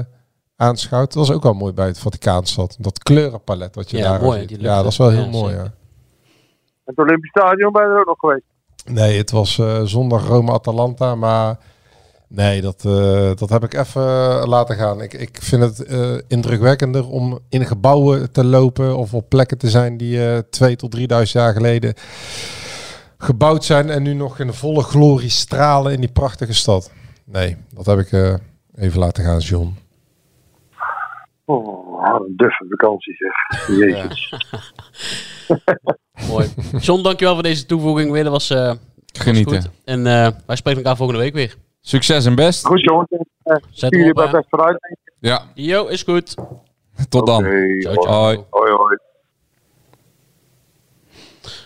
aanschouwt. Dat was ook wel mooi bij het Vaticaanstad. Dat kleurenpalet wat je Ja, daar mooi, ziet. die lucht. Ja, dat is wel heel Ja, mooi. zeker. Ja. het Olympisch Stadion ben je er ook nog geweest. Nee, het was eh, zondag Rome-Atalanta, maar nee, dat, eh, dat heb ik even eh, laten gaan. Ik, ik vind het eh, indrukwekkender om in gebouwen te lopen of op plekken te zijn die eh, 2 tot 3000 jaar geleden gebouwd zijn en nu nog in de volle glorie stralen in die prachtige stad. Nee, dat heb ik eh, even laten gaan, John. Oh, wat een duffe vakantie zeg. Jezus. Mooi. John, dankjewel voor deze toevoeging weer. Dat was, eh, was Genieten. goed. En eh, wij spreken elkaar volgende week weer. Succes en best. Goed jongens. Eh, Zet hem Jullie op, hebben hè. best vooruit. denk ik. Ja, Yo, is goed. tot dan. Oké, Ciao, ciao. Hoi. Hoi hoi.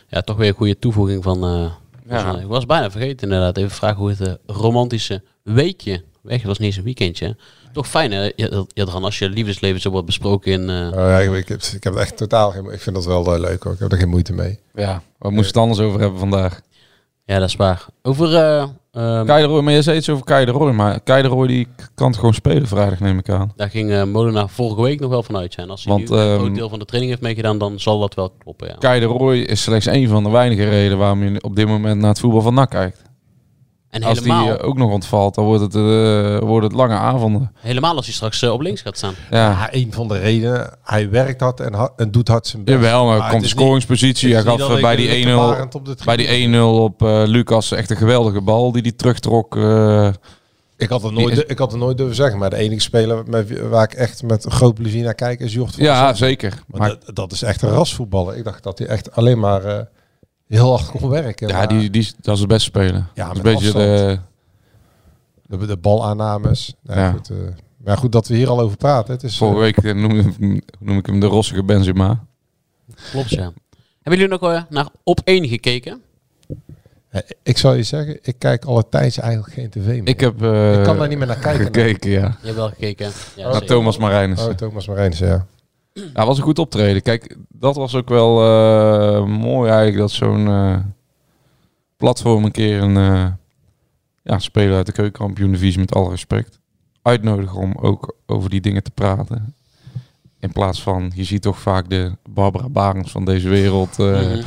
Ja, toch weer een goede toevoeging van... eh, Ja. van- Ik was bijna vergeten inderdaad. Even vragen hoe het eh, romantische weekje... Weg, het was niet eens een weekendje. hè. Toch fijn, hè? Je, je, Dran, als je liefdesleven zo wordt besproken in... eh, Oh, ja, ik, ik, heb, ik heb er echt totaal geen... Ik vind dat wel eh, leuk hoor, ik heb er geen moeite mee. Ja, we moesten het anders over hebben vandaag. Ja, dat is waar. Over... eh, ehm, Kei de Roy, maar je zei iets over Kei de Roy, maar Kei de Roy die kan het gewoon spelen vrijdag neem ik aan. Daar ging eh, Molenaar vorige week nog wel van uit zijn. Als hij Want, nu een ehm, groot deel van de training heeft meegedaan, dan zal dat wel kloppen. Ja. Kei de Roy is slechts één van de weinige redenen waarom je op dit moment naar het voetbal van NAC kijkt. En Als die helemaal, eh, ook nog ontvalt, dan wordt het, eh, worden het lange avonden. helemaal als hij straks eh, op links gaat staan. Ja. Ja, een van de redenen, hij werkt hard en, ha- en doet hard zijn best. Jawel, maar komt het de is niet- scoringspositie. Hij Het is gaf niet eh, dat bij ik die 1-0 lukkebarend op de bij tribune- die 1-0 op eh, Lucas echt een geweldige bal die hij terugtrok. eh, Ik had, er nooit, Die ik had er nooit durven zeggen, maar de enige speler met, wie- waar ik echt met groot plezier naar kijk is Jocht van der ja, Sar. zeker. Maar Maar, dat, dat is echt een rasvoetballer. Ik dacht dat hij echt alleen maar eh, heel hard kon werken. ja, Maar die, die, dat is het beste spelen. Ja, Ja, dat is een met beetje de, afstand. de, de balaannames. Nou, Ja. Goed, eh, maar goed dat we hier al over praten. Het is, vorige eh, week eh, noem, noem ik hem de rossige Benzema. Klopt, ja. Hebben jullie nog eh, naar op één gekeken? eh, ik zal je zeggen, ik kijk al een tijdje eigenlijk geen tv meer. Ik heb eh, Ik kan daar niet meer naar kijken. gekeken, ja. Je hebt wel gekeken. Ja, Naar zeker. Thomas Marijnissen. Oh, Thomas Marijnissen, ja. Ja, was een goed optreden. Kijk, dat was ook wel eh, mooi eigenlijk dat zo'n eh, platform een keer een eh, ja, speler uit de keukenkampioen divisie met alle respect uitnodigen om ook over die dingen te praten. In plaats van, je ziet toch vaak de Barbara Barends van deze wereld eh, Mhm.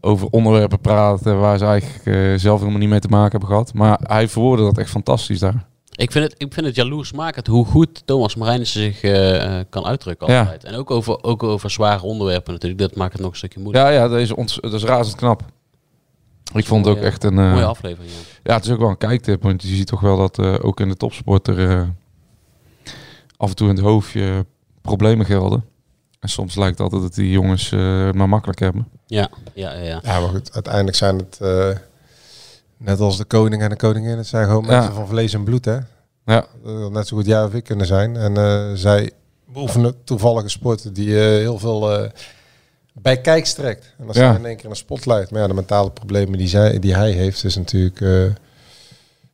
over onderwerpen praten waar ze eigenlijk eh, zelf helemaal niet mee te maken hebben gehad. Maar hij verwoordde dat echt fantastisch daar. Ik, vind het, ik vind het jaloersmakend hoe goed Thomas Marijnissen zich eh, eh, kan uitdrukken Ja. altijd. En ook over, ook over zware onderwerpen natuurlijk. Dat maakt het nog een stukje moeilijker. Ja, ja, dat is, ons, dat is razend knap. Ik vond het ook mooie- echt een... eh, Mooie aflevering, ja. Ja, het is ook wel een kijktip, want je ziet toch wel dat eh, ook in de topsport er eh, af en toe in het hoofdje problemen gelden. En soms lijkt het altijd dat die jongens eh, maar makkelijk hebben. Ja, ja, ja. ja. Ja, maar goed, uiteindelijk zijn het eh, Net als de koning en de koningin. Het zijn gewoon Ja. mensen van vlees en bloed, hè? Ja. Dat net zo goed jij of ik kunnen zijn. En eh, zij beoefenen toevallige sporten die eh, heel veel eh bij kijk trekt. En dan Ja. zijn in één keer in een spotlight. Maar ja, de mentale problemen die, zij, die hij heeft, is natuurlijk... eh, eh,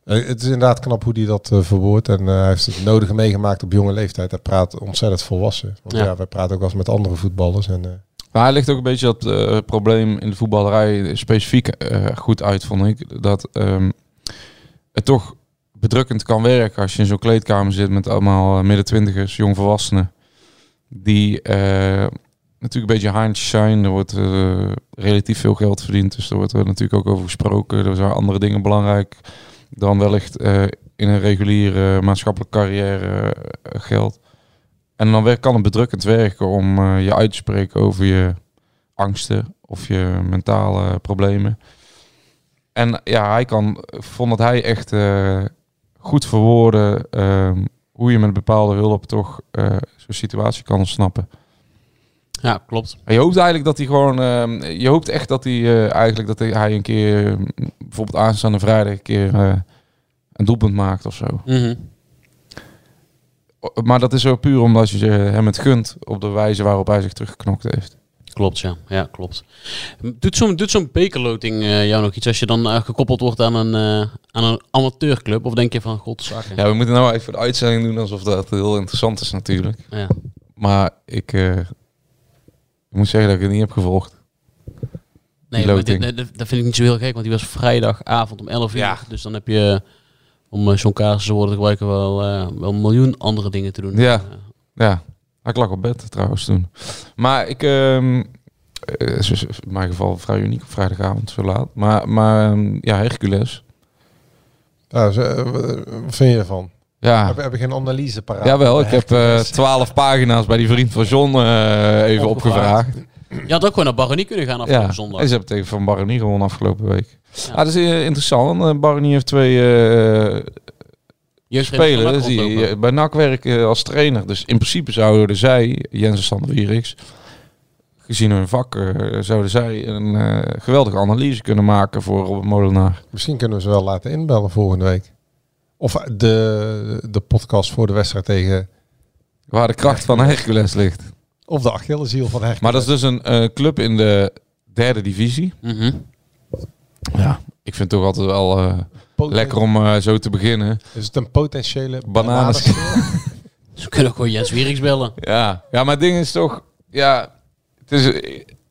het is inderdaad knap hoe hij dat eh, verwoordt. En eh, hij heeft het nodige meegemaakt op jonge leeftijd. Hij praat ontzettend volwassen. Want Ja. ja, wij praten ook wel eens met andere voetballers. En, eh, Maar hij ligt ook een beetje dat eh, probleem in de voetballerij specifiek eh, goed uit, vond ik. Dat ehm, het toch bedrukkend kan werken als je in zo'n kleedkamer zit met allemaal midden twintigers, jongvolwassenen. Die eh, natuurlijk een beetje haantjes zijn. Er wordt eh, relatief veel geld verdiend. Dus er wordt er natuurlijk ook over gesproken. Er zijn andere dingen belangrijk dan wellicht eh, in een reguliere maatschappelijke carrière eh, geld. En dan wer- kan het bedrukkend werken om eh, je uit te spreken over je angsten of je mentale problemen. En ja, hij kan, vond dat hij echt eh, goed verwoorden ehm, hoe je met bepaalde hulp toch eh, zo'n situatie kan ontsnappen. Ja, klopt. En je hoopt eigenlijk dat hij gewoon, ehm, je hoopt echt dat hij eh, eigenlijk dat hij- hij een keer, eh, bijvoorbeeld aanstaande vrijdag, een keer eh, een doelpunt maakt of zo. Mhm. Maar dat is zo puur omdat je hem het gunt op de wijze waarop hij zich teruggeknokt heeft. Klopt, ja. Ja, klopt. Doet zo'n doet zo'n bekerloting eh, jou nog iets als je dan eh, gekoppeld wordt aan een, eh, aan een amateurclub? Of denk je van, godzakken? Ja, we moeten nou even de uitzending doen alsof dat heel interessant is natuurlijk. Ja. Maar ik, eh, ik moet zeggen dat ik het niet heb gevolgd. Nee, Die maar dit- loting. nee, dat vind ik niet zo heel gek, want die was vrijdagavond om 11 uur. Dus dan heb je, om eh, zo'n kaas te worden te gebruiken, wel, eh, wel een miljoen andere dingen te doen. Ja. Eh, Ja, ik lag op bed trouwens toen. Maar ik, ehm, eh, is is in mijn geval vrij uniek op vrijdagavond, zo laat. Maar, maar ehm, ja, Hercules. nou, zo, eh, wat vind je ervan? Ja, Heb, heb je geen analyse paraat? Ah. jawel, ik heb eh, 12 pagina's bij die vriend van John eh, even Opgevraagd. opgevraagd. Je had ook gewoon naar Baronie kunnen gaan afgelopen Ja, zondag. en ze hebben tegen Van Baronier gewonnen afgelopen week. Ah, dat is eh, interessant. Eh, Baronier heeft twee eh, Jeugdvereniging spelen. van Dus NAC die, rondlopen. eh, bij NAC werken als trainer. Dus in principe zouden zij, Jens en Sander Wieriks, gezien hun vak, eh, zouden zij een eh, geweldige analyse kunnen maken voor Robert Molenaar. Misschien kunnen we ze wel laten inbellen volgende week. Of eh, de, de podcast voor de wedstrijd tegen... Waar de kracht van Hercules ligt. Of de Achilleshiel van Hercules. Maar dat is dus een eh, club in de derde divisie. Mhm. Ja. Ik vind het toch altijd wel eh, Poten- lekker om eh, zo te beginnen. Is het een potentiële Bananen. Ze kunnen ook gewoon Jens Wieriks bellen. Ja. ja, maar het ding is toch... Ja, het is,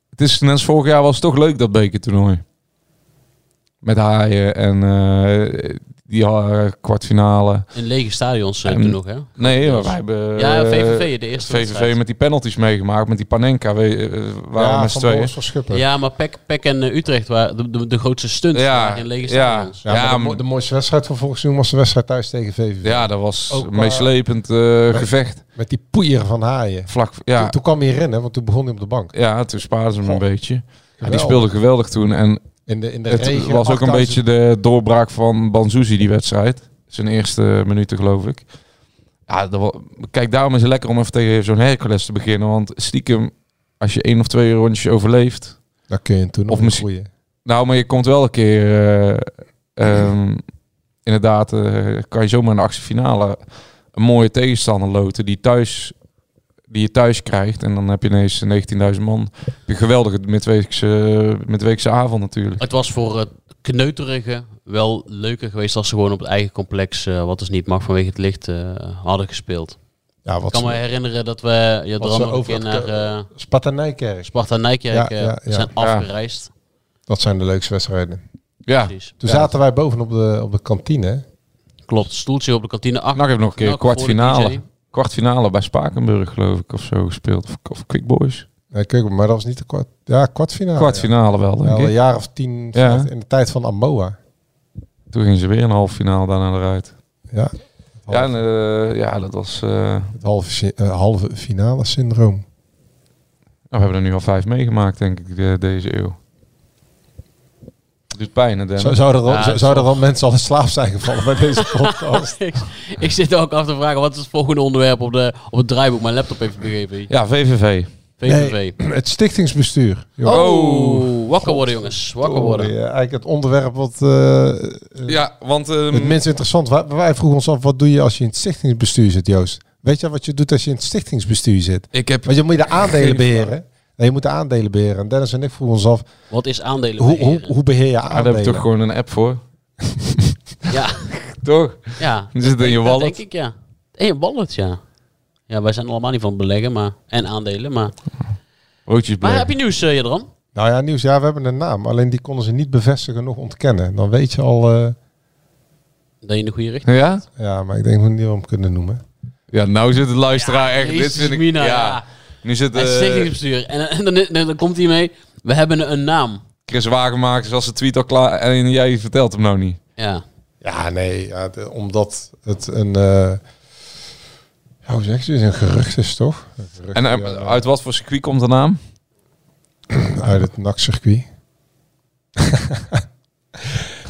het is net als vorig jaar was het toch leuk, dat bekertoernooi. Met haaien en eh, die eh, kwartfinale. In lege stadions eh, En- toen nog, hè? Nee, maar wij hebben... Ja, eh, VVV, de eerste VVV wedstrijd. met die penalties meegemaakt, met die Panenka. We, eh, waren Ja, met z'n van tweeën. Boris van Schuppen. Ja, Ja, maar Peck, Peck en eh, Utrecht waren de, de, de grootste stunts Ja, waren in lege ja. stadions. maar Ja, de, m- mo- de mooiste wedstrijd van volgens seizoen was de wedstrijd thuis tegen VVV. Ja, dat was Ook een waar. meeslepend eh, gevecht. Met die poeier van Haaien. Vlak, ja, Toen, toen kwam hij erin, hè, want toen begon hij op de bank. ja, toen spaarden ze hem een Goh. beetje. Ja, die Geweldig. speelde geweldig toen. En In de, in de Het regen, was ook een 8000 beetje de doorbraak van Banzuzi, die wedstrijd. Zijn eerste minuten, geloof ik. Ja, dat wa- Kijk, daarom is het lekker om even tegen zo'n Hercules te beginnen. Want stiekem, als je één of twee rondjes overleeft... Dan kun je hem toen nog Of misschien- groeien. Nou, maar je komt wel een keer... eh, ehm, inderdaad, eh, kan je zomaar in de actiefinale een mooie tegenstander loten... Die, thuis, die je thuis krijgt. En dan heb je ineens 19.000 man. Heb je Een geweldige midweekse, eh, midweekse avond natuurlijk. Het was voor het kneuterige wel leuker geweest als ze gewoon op het eigen complex, eh, wat dus niet mag vanwege het licht, eh, hadden gespeeld. Ja, Ik wat kan me herinneren dat we ja, er Wat ze allemaal een over keer het naar ke- eh, Sparta Nijkerk. Sparta Nijkerk Ja, eh, ja, ja. zijn Ja. afgereisd. Dat zijn de leukste wedstrijden. Ja, Precies. Toen zaten wij boven op de, op de kantine. Klopt, stoeltje op de kantine. Acht, Nak heeft nog een keer Nak voor de kwartfinale. DJ. Kwartfinale bij Spakenburg, geloof ik, of zo gespeeld. Of, of Quick Boys. Nee, kijk, maar dat was niet de kwart, ja, kwartfinale. Kwartfinale wel, Ja, denk al een ik. jaar of tien Ja. vijftien, in de tijd van Amoa. Toen gingen ze weer een halve finale daarna eruit. Ja. Het Ja, en, halve, eh, ja, dat was... eh, nou, het halve, si- eh, halve finale syndroom. we hebben er nu al vijf meegemaakt, denk ik, de- deze eeuw. Doet pijn, hè, Dennis? Zou, zou er al, Ja, zou, het zouden er al mensen al in slaap zijn gevallen bij deze podcast? ik, ik zit ook af te vragen, wat is het volgende onderwerp op, de, op het draaiboek? Mijn laptop heeft begeven. Ja, VVV. VVV. Het stichtingsbestuur. joh. Oh, wakker worden jongens, wakker worden. Ja, eigenlijk het onderwerp wat eh, Ja, want... ehm, mm. het mensen interessant... Wij, wij vroegen ons af, wat doe je als je in het stichtingsbestuur zit, Joost? Weet je wat je doet als je in het stichtingsbestuur zit? ik heb... Want je moet de aandelen Geen beheren. Nee, je moet de aandelen beheren. En Dennis en ik vroegen ons af, Wat is aandelen hoe, hoe, beheren? hoe beheer je Ah, daar heb aandelen? je toch gewoon een app voor? Ja, Toch? ja. Dan zit het in je Ja, wallet. denk ik, ja. In je wallet, ja. Ja, wij zijn allemaal niet van beleggen maar, en aandelen, maar... Roodjes Maar blij. heb je nieuws, eh Jedram? Nou ja, nieuws. Ja, we hebben een naam. Alleen die konden ze niet bevestigen, nog ontkennen. Dan weet je al... eh, Dat je in de goede richting... Ja? ja, maar ik denk dat we het niet om kunnen noemen. Ja, nou zit het luisteraar echt... Dit Jezus, vind ik... Mina, ja. Nu zit Het eh stichtingsbestuur. En, en dan, dan, dan komt hij mee. We hebben een naam. Chris Wagenmakers als de tweet al klaar... En jij vertelt hem nou niet. Ja. Ja, nee. Ja, de- omdat het een... eh ja, hoe zeg je het? Een gerucht is, toch? Een gerucht, En eh, ja, eh, uit wat voor circuit komt de naam? uit het NAC-circuit.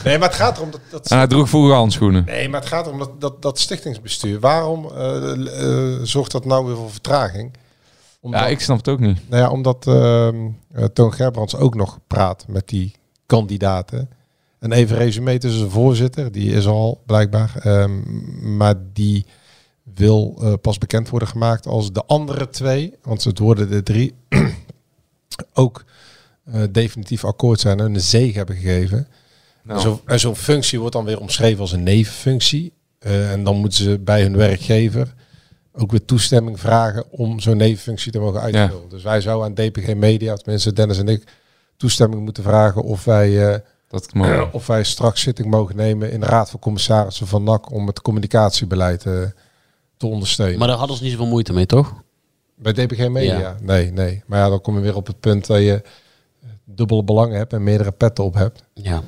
nee, maar het gaat erom dat... dat En hij droeg vroeger handschoenen. Nee, maar het gaat erom dat, dat, dat stichtingsbestuur. Waarom eh, eh, zorgt dat nou weer voor vertraging? Omdat, Ja, ik snap het ook niet. nou ja, omdat ehm, eh, Toon Gerbrands ook nog praat met die kandidaten. En even resume tussen de voorzitter, die is er al blijkbaar. ehm, maar die wil eh, pas bekend worden gemaakt als de andere twee. Want het worden de drie ook eh, definitief akkoord zijn en een zege hebben gegeven. En zo- en zo'n functie wordt dan weer omschreven als een nevenfunctie. Eh, en dan moeten ze bij hun werkgever ook weer toestemming vragen om zo'n nevenfunctie te mogen uitvullen. Dus wij zouden aan DPG Media, tenminste Dennis en ik, toestemming moeten vragen of wij, eh, Dat kan wel. of wij straks zitting mogen nemen in de Raad van Commissarissen van NAC om het communicatiebeleid eh, te ondersteunen. Maar daar hadden ze niet zoveel moeite mee, toch? Bij DPG Media? Ja. Nee, nee. Maar ja, dan kom je weer op het punt dat je eh, dubbele belangen hebt en meerdere petten op hebt. Ja.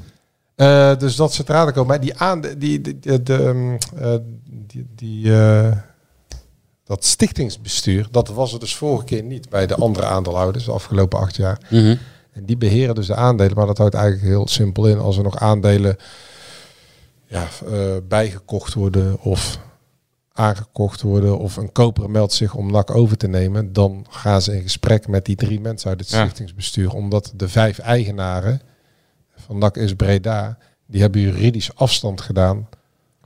Eh, dus dat zit eraan te komen. Maar die aan, die, die, die, de, ehm, eh, die, die, eh, dat stichtingsbestuur, dat was er dus vorige keer niet bij de andere aandeelhouders de afgelopen acht jaar. Mhm. En die beheren dus de aandelen, maar dat houdt eigenlijk heel simpel in als er nog aandelen ja, eh, bijgekocht worden of aangekocht worden of een koper meldt zich om NAC over te nemen, dan gaan ze in gesprek met die drie mensen uit het Ja. stichtingsbestuur, omdat de vijf eigenaren van NAC is Breda, die hebben juridisch afstand gedaan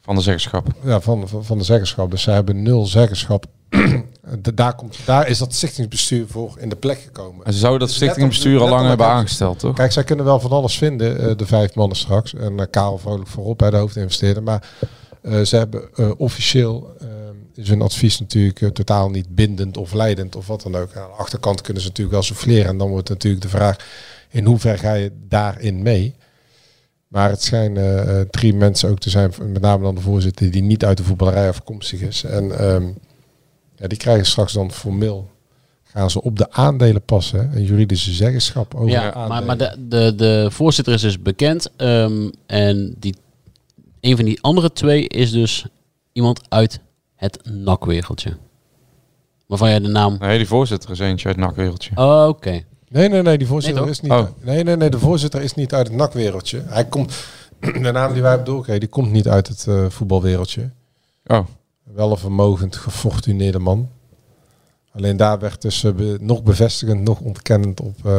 Van de zeggenschap. ja, van, van, van de zeggenschap. Dus zij hebben nul zeggenschap. De- daar, komt, daar is dat stichtingsbestuur voor in de plek gekomen. En ze zouden dat Dus stichtingsbestuur al lang letterlijk- hebben letterlijk- aangesteld, toch? Kijk, zij kunnen wel van alles vinden, eh, de vijf mannen straks. En eh, Karel Vrolijk voorop bij de hoofdinvesteerder. Maar eh, ze hebben eh, officieel eh, is hun advies natuurlijk eh, totaal niet bindend of leidend of wat dan ook. Aan de achterkant kunnen ze natuurlijk wel souffleren. En dan wordt natuurlijk de vraag, in hoever ga je daarin mee? Maar het schijnen eh, eh, drie mensen ook te zijn, met name dan de voorzitter, die niet uit de voetballerij afkomstig is. En ehm, ja, die krijgen straks dan formeel, gaan ze op de aandelen passen, hè? een juridische zeggenschap over de Ja, aandelen. maar, maar de, de, de voorzitter is dus bekend. ehm, en die, een van die andere twee is dus iemand uit het nakwegeltje. Waarvan jij de naam... Nee, die voorzitter is eentje uit het nakwereldje. Oh, Oké. Nee, nee, nee, die voorzitter Nee, toch? is niet. Oh. Nee, nee, nee, de voorzitter is niet uit het nakwereldje. Hij komt, de naam die wij hebben doorgekregen, die komt niet uit het eh, voetbalwereldje. Oh, Wel een vermogend, gefortuneerde man. Alleen daar werd dus eh, be- nog bevestigend, nog ontkennend op. eh,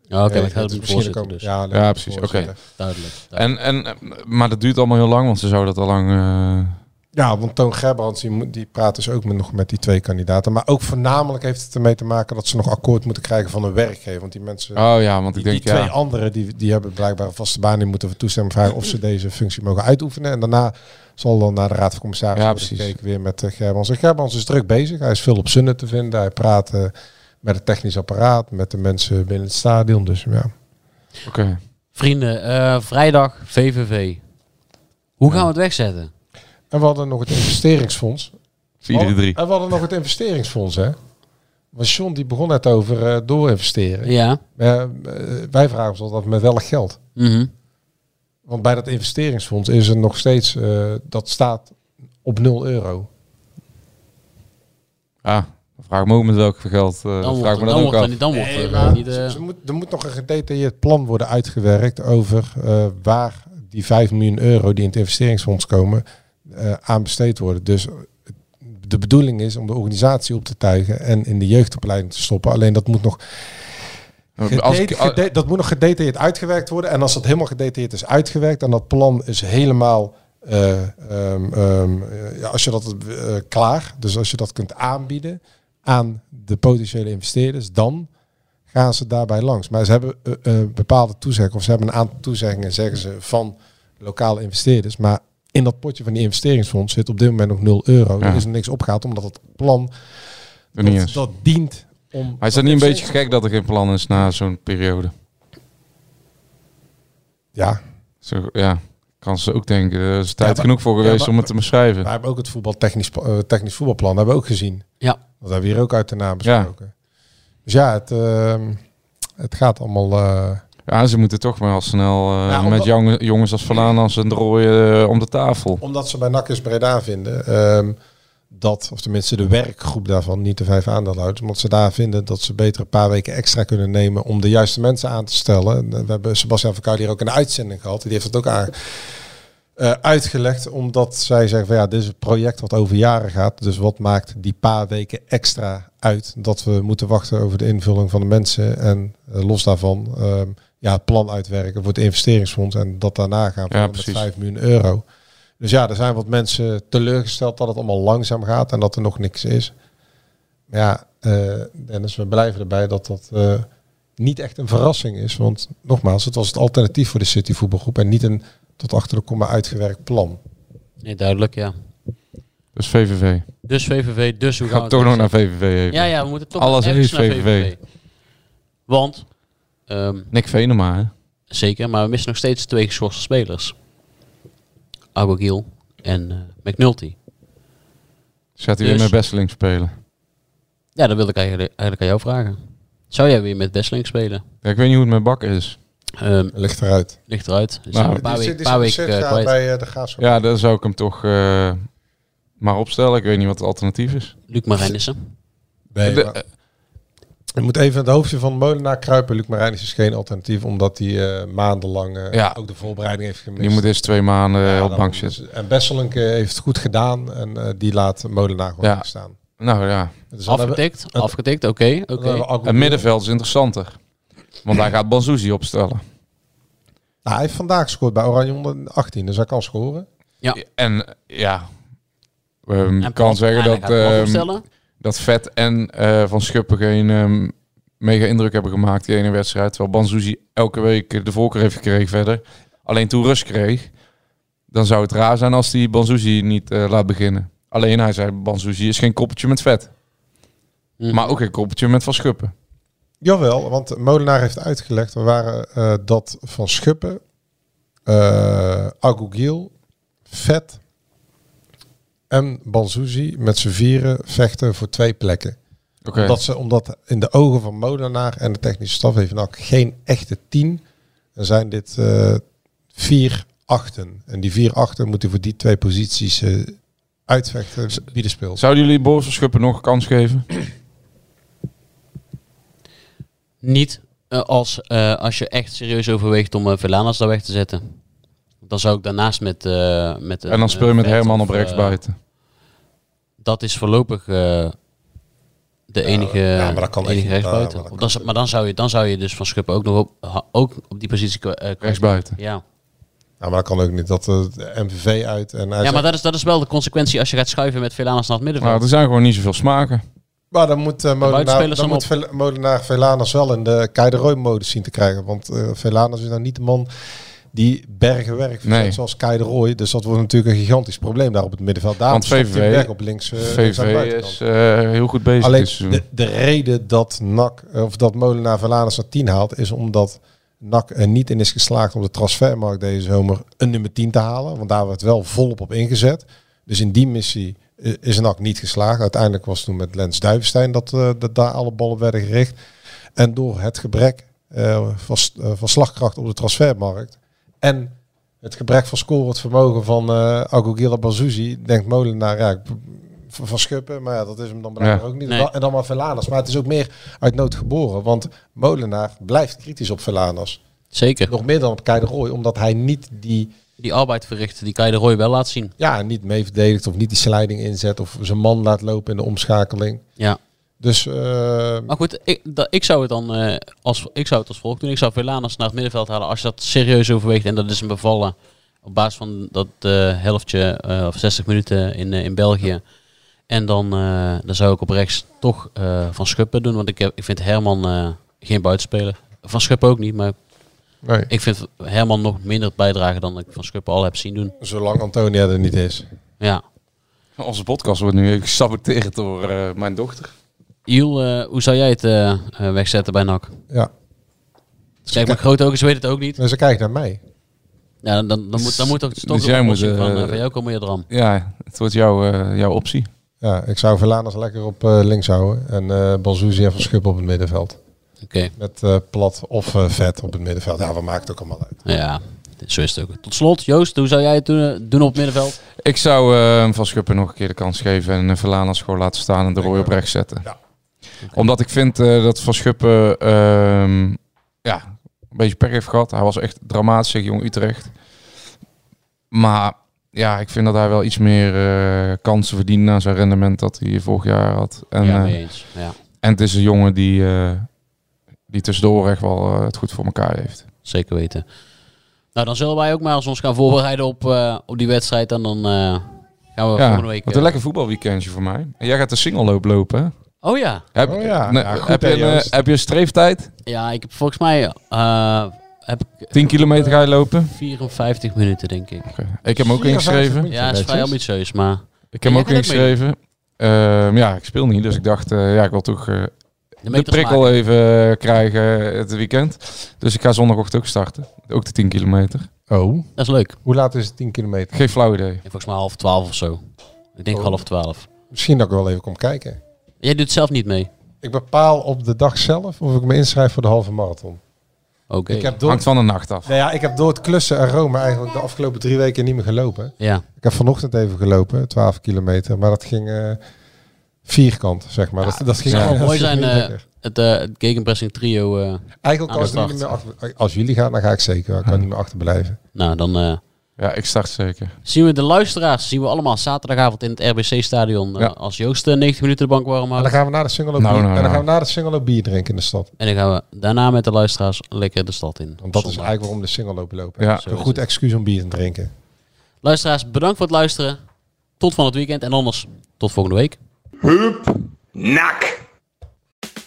Ja, Oké, ja, dat het gaat is om de misschien voorzitter ook- dus. Ja, Ja, precies, oké. Oké. Duidelijk. duidelijk. en, en, eh, maar dat duurt allemaal heel lang, want ze zouden dat al lang... eh, Ja, want Toon Gerbrands die, moet- die praat dus ook met, nog met die twee kandidaten. Maar ook voornamelijk heeft het ermee te maken dat ze nog akkoord moeten krijgen van hun werkgever. Want die mensen Oh ja, want ik die, denk, die twee ja... anderen die, die hebben blijkbaar een vaste baan. Die moeten we toestemming vragen of ze deze functie mogen uitoefenen. En daarna zal dan naar de Raad van Commissarissen Ja, worden precies. gekeken weer met eh, Gerbrands. En Gerbrands is druk bezig. Hij is veel op zinnen te vinden. Hij praat eh, met het technisch apparaat, met de mensen binnen het stadion. Dus ja. Oké. Vrienden, eh, vrijdag VVV. Hoe gaan we het wegzetten? En we hadden nog het investeringsfonds. Oh. Voor iedere drie. En we hadden nog het investeringsfonds, hè? Want John die begon net over eh, doorinvesteren. Ja. Eh, eh, wij vragen ons altijd af met welk geld. Mhm. Want bij dat investeringsfonds is er nog steeds, eh, dat staat op 0 euro. Ah, dan vraag ik me ook met welk geld. eh, Dan vraag ik wordt me er- dat dan ook wordt er af. niet- dan wordt Nee, er maar niet... ze- eh, ze moet, Dus er moet nog een gedetailleerd plan worden uitgewerkt over eh, waar die 5 miljoen euro die in het investeringsfonds komen eh, aan besteed worden. Dus eh, de bedoeling is om de organisatie op te tuigen en in de jeugdopleiding te stoppen. Alleen dat moet nog, Als gedeta- ik, ah, al- gede- dat moet nog gedetailleerd uitgewerkt worden. En als dat helemaal gedetailleerd is uitgewerkt en dat plan is helemaal, eh, ehm, ehm, eh, ja, als je dat eh, klaar, dus als je dat kunt aanbieden aan de potentiële investeerders, dan gaan ze daarbij langs. Maar ze hebben eh, eh, bepaalde toezeggingen, of ze hebben een aantal toezeggingen, zeggen ze, van lokale investeerders. Maar in dat potje van die investeringsfonds zit op dit moment nog 0 euro. Dus Ja. Er is er niks opgehaald, omdat het plan er niet dat, eens. dat dient om... Maar is dat niet een beetje gek dat er geen plan is na zo'n periode? Ja, Zo, ja, kan ze ook denken, er is tijd maar- genoeg voor ja, geweest maar- om het te beschrijven. We hebben ook het voetbaltechnisch, eh, technisch voetbalplan hebben we ook gezien. Ja. Dat hebben we hier ook uit de naam besproken. Dus ja, het, ehm, het gaat allemaal... eh, Ja, ze moeten toch maar al snel eh, Ja, met omdat- jonge- jongens als Falanas en de Rooij eh, om de tafel. omdat ze bij Nakkers Breda vinden ehm, dat, of tenminste de werkgroep daarvan, niet de vijf aandeelhouders, omdat ze daar vinden dat ze beter een paar weken extra kunnen nemen om de juiste mensen aan te stellen. En, eh, We hebben Sebastian Verkuil hier ook in de uitzending gehad. Die heeft dat ook aan, eh, uitgelegd, omdat zij zeggen van ja, dit is een project wat over jaren gaat. Dus wat maakt die paar weken extra uit dat we moeten wachten over de invulling van de mensen en eh, los daarvan ehm, ja, het plan uitwerken voor het investeringsfonds en dat daarna gaan we met precies. 5 miljoen euro. Dus ja, er zijn wat mensen teleurgesteld dat het allemaal langzaam gaat en dat er nog niks is. Maar ja, eh Dennis, we blijven erbij dat dat eh, niet echt een verrassing is. Want nogmaals, het was het alternatief voor de City voetbalgroep en niet een tot achter de komma uitgewerkt plan. Nee, duidelijk, ja. Dus VVV. Dus VVV, dus hoe We gaan gaan we toch het nog naar doen? VVV even. Ja, ja, we moeten toch Alles ergens is naar VVV. VVV. Want, ehm, Nick Venema, hè? zeker, maar we missen nog steeds twee geschorste spelers. Agogiel en eh, McNulty. Ze Gaat hij Dus- weer met Besseling spelen? Ja, dat wilde ik eigenlijk, eigenlijk aan jou vragen. Zou jij weer met Besseling spelen? Ja, ik weet niet hoe het met Bakker is. Ehm, Ligt eruit. ligt eruit. Dus Nou, een paar weken paar weken, eh, kwijt. bij eh, de Graafschap. Ja, dan zou ik hem toch eh, maar opstellen. Ik weet niet wat het alternatief is. Luc Marijnissen. Nee, De- maar- je moet even het hoofdje van Molenaar kruipen. Luc Marijnis is geen alternatief, omdat hij eh, maandenlang eh, Ja. ook de voorbereiding heeft gemist. Die moet eerst twee maanden eh, op bank zitten. En Besselink eh, heeft het goed gedaan en eh, die laat Molenaar gewoon Ja. ja. staan. Nou ja, Dus dan hebben we- afgetikt, afgetikt, oké. oké. dan hebben we Agogil. het middenveld is interessanter. Want daar gaat Banzuzi opstellen. Nou, hij heeft vandaag gescoord bij Oranje 118, dus hij kan scoren. Ja. En eh, ja, ehm, En ik Plan- kan zeggen en hij dat, gaat Plan ehm, opstellen. dat Vet en eh, Van Schuppen geen ehm, mega indruk hebben gemaakt die ene wedstrijd. Terwijl Banzuzi elke week de voorkeur heeft gekregen verder. Alleen toen rust kreeg, dan zou het raar zijn als die Banzuzi niet eh, laat beginnen. Alleen hij zei, Banzuzi is geen koppeltje met Vet. Hmm. Mhm. Maar ook geen koppeltje met Van Schuppen. Jawel, want Molenaar heeft uitgelegd we waren, eh, dat Van Schuppen, eh Agogiel, Vet en Banzuzi met z'n vieren vechten voor twee plekken. Oké, Omdat, ze, omdat in de ogen van Molenaar en de technische staf heeft NAC geen echte tien. Dan zijn dit eh, vier achten. En die vier achten moeten voor die twee posities eh, uitvechten wie de speelt. zouden jullie Boris Van Schuppen nog een kans geven? Niet eh, als, eh, als je echt serieus overweegt om eh Velanas daar weg te zetten. Dan zou ik daarnaast met... eh, met en dan speel je met Herman op eh, rechts buiten. buiten. Dat is voorlopig eh, de enige, ja, maar dat kan echt enige niet. Ja, maar rechtsbuiten. dat Of kan dan z- maar dan zou, je, dan zou je dus van Schuppen ook nog op, ha- ook op die positie... kwa- eh, kwa- Rechtsbuiten. Ja, Nou, maar dat kan ook niet. Dat eh, de MVV uit. En hij ja zegt- maar dat is, dat is wel de consequentie als je gaat schuiven met Velanas naar het middenveld. Nou, er zijn gewoon niet zoveel smaken. Maar dan moet, eh Molenaar, buitenspelers dan dan moet Vel- Molenaar Velanas wel in de Keiderooi-modus zien te krijgen. Want eh Velanas is nou niet de man die bergen werk verzet Nee. zoals Keiderooi. Dus dat wordt natuurlijk een gigantisch probleem daar op het middenveld. Daarom Want stopt hij VVV weg op links, eh, links aan de VV buitenkant. is eh, heel goed bezig. eh. Alleen dit seizoen. de, de reden dat NAC, eh, of dat Molenaar Velanas naar 10 haalt, is omdat NAC er niet in is geslaagd op de transfermarkt deze zomer een nummer 10 te halen. Want daar werd wel volop op ingezet. Dus in die missie eh, is NAC niet geslaagd. Uiteindelijk was het toen met Lens Duivenstein dat, eh, dat daar alle ballen werden gericht. En door het gebrek eh, van, s- eh, van slagkracht op de transfermarkt en het gebrek van scorend vermogen van eh Agogila Bazuzi, denkt Molenaar, ja, ik- van van Schuppen, maar ja, dat is hem dan blijkbaar Ja. ook niet. Nee. En dan maar Velaners. Maar het is ook meer uit nood geboren, want Molenaar blijft kritisch op Velaners. Zeker. Nog meer dan op Kei de Roy, omdat hij niet die Die arbeid verrichten, die kan je de Roy wel laten zien. ja, niet mee verdedigt of niet die sliding inzet of zijn man laat lopen in de omschakeling. Ja. Dus eh, Maar goed, ik, da- ik zou het dan eh, als, ik zou het als volgt doen. Ik zou Velanas naar het middenveld halen als je dat serieus overweegt. En dat is een bevallen op basis van dat eh, helftje eh, of 60 minuten in, eh, in België. En dan, eh, dan zou ik op rechts toch eh, Van Schuppen doen. Want ik, heb, ik vind Herman eh, geen buitenspeler. Van Schuppen ook niet, maar nee, ik vind Herman nog minder bijdragen dan ik Van Schuppen al heb zien doen. zolang Antonia er niet is. Ja. Onze podcast wordt nu even gesaboteerd door eh, mijn dochter. Iel, eh, hoe zou jij het eh, eh, wegzetten bij NAC? Ja, Kijk, mijn grote ogen, ze weten het ook niet. maar ze kijkt naar mij. Ja, dan, dan, dan moet, dan moet toch Dus toch de jij moet, oplossing van, eh, eh, van jou komen, Jadram. Ja, het wordt jouw, eh, jouw optie. Ja, ik zou Verlaners lekker op eh, links houden en eh Banzuzi en Van Schuppen op het middenveld. Oké, Met eh, plat of eh, vet op het middenveld. Ja, wat maakt het ook allemaal uit. ja, zo is het ook. Tot slot, Joost, hoe zou jij het doen, doen op het middenveld? Ik zou eh, Van Schuppen nog een keer de kans geven en eh, Verlanas gewoon laten staan en de Roy op rechts zetten. Ja. Omdat ik vind eh, dat Van Schuppen ehm, ja, een beetje pech heeft gehad. Hij was echt dramatisch tegen Jong Utrecht. Maar ja, ik vind dat hij wel iets meer eh, kansen verdient na zijn rendement dat hij vorig jaar had. En, ja, eh, mee eens. Ja, en het is een jongen die, eh, die tussendoor echt wel eh, het goed voor elkaar heeft. zeker weten. Nou, dan zullen wij ook maar eens ons gaan voorbereiden op, eh, op die wedstrijd. En dan eh, gaan we Ja, volgende week... wat eh, een lekker voetbalweekendje voor mij. En jij gaat de singelloop lopen, hè? Oh ja. Heb, Oh ja. nee, Ja, goed, heb, hè, je een, eh, Joost. heb je een streeftijd? Ja, ik heb volgens mij eh, heb ik 10 kilometer ga je lopen? 54 minuten, denk ik. Oké. Ik heb hem ook 54 ingeschreven. minuten, Ja, dat is netjes. vrij ambitieus, maar... Ik heb Ja, hem jij ook kan ook ingeschreven. Ehm, ja, ik speel niet, dus ik dacht, eh, ja, ik wil toch eh, de meters prikkel maken. even eh, krijgen het weekend. Dus ik ga zondagochtend ook starten. Ook de 10 kilometer. eh. Oh, Dat is leuk. hoe laat is het 10 kilometer? Geen flauw idee. Volgens mij half twaalf of zo. Ik denk Oh. half twaalf. Misschien dat ik wel even kom kijken. Jij doet het zelf niet mee. Ik bepaal op de dag zelf of ik me inschrijf voor de halve marathon. Oké. Ik heb door Hangt van de nacht af. Nou ja, ik heb door het klussen en Rome eigenlijk de afgelopen drie weken niet meer gelopen. Ja. Ik heb vanochtend even gelopen, 12 kilometer, maar dat ging eh, vierkant, zeg maar. dat, dat ging zou dat mooi ging zijn, niet eh, lekker. Het, eh het Gegenpressing trio. eh, Eigenlijk aan als de jullie, niet meer achter- als jullie gaan, dan ga ik zeker. wel. Ik kan niet meer achterblijven. nou, dan eh, Ja, ik start zeker. zien we de luisteraars. Zien we allemaal zaterdagavond in het RBC-stadion. Ja. Als Joost eh, 90 minuten de bank warm En houdt. dan gaan we naar de Singelo Nou, bier, nou, en dan nou. gaan we naar de Singelo bier drinken in de stad. En dan gaan we daarna met de luisteraars lekker de stad in. Want dat is Zondag. eigenlijk waarom de Singelo lopen. Ja. Ja, Zo een is goed het. excuus om bier te drinken. Luisteraars, bedankt voor het luisteren. Tot van het weekend. En anders, tot volgende week. Nak.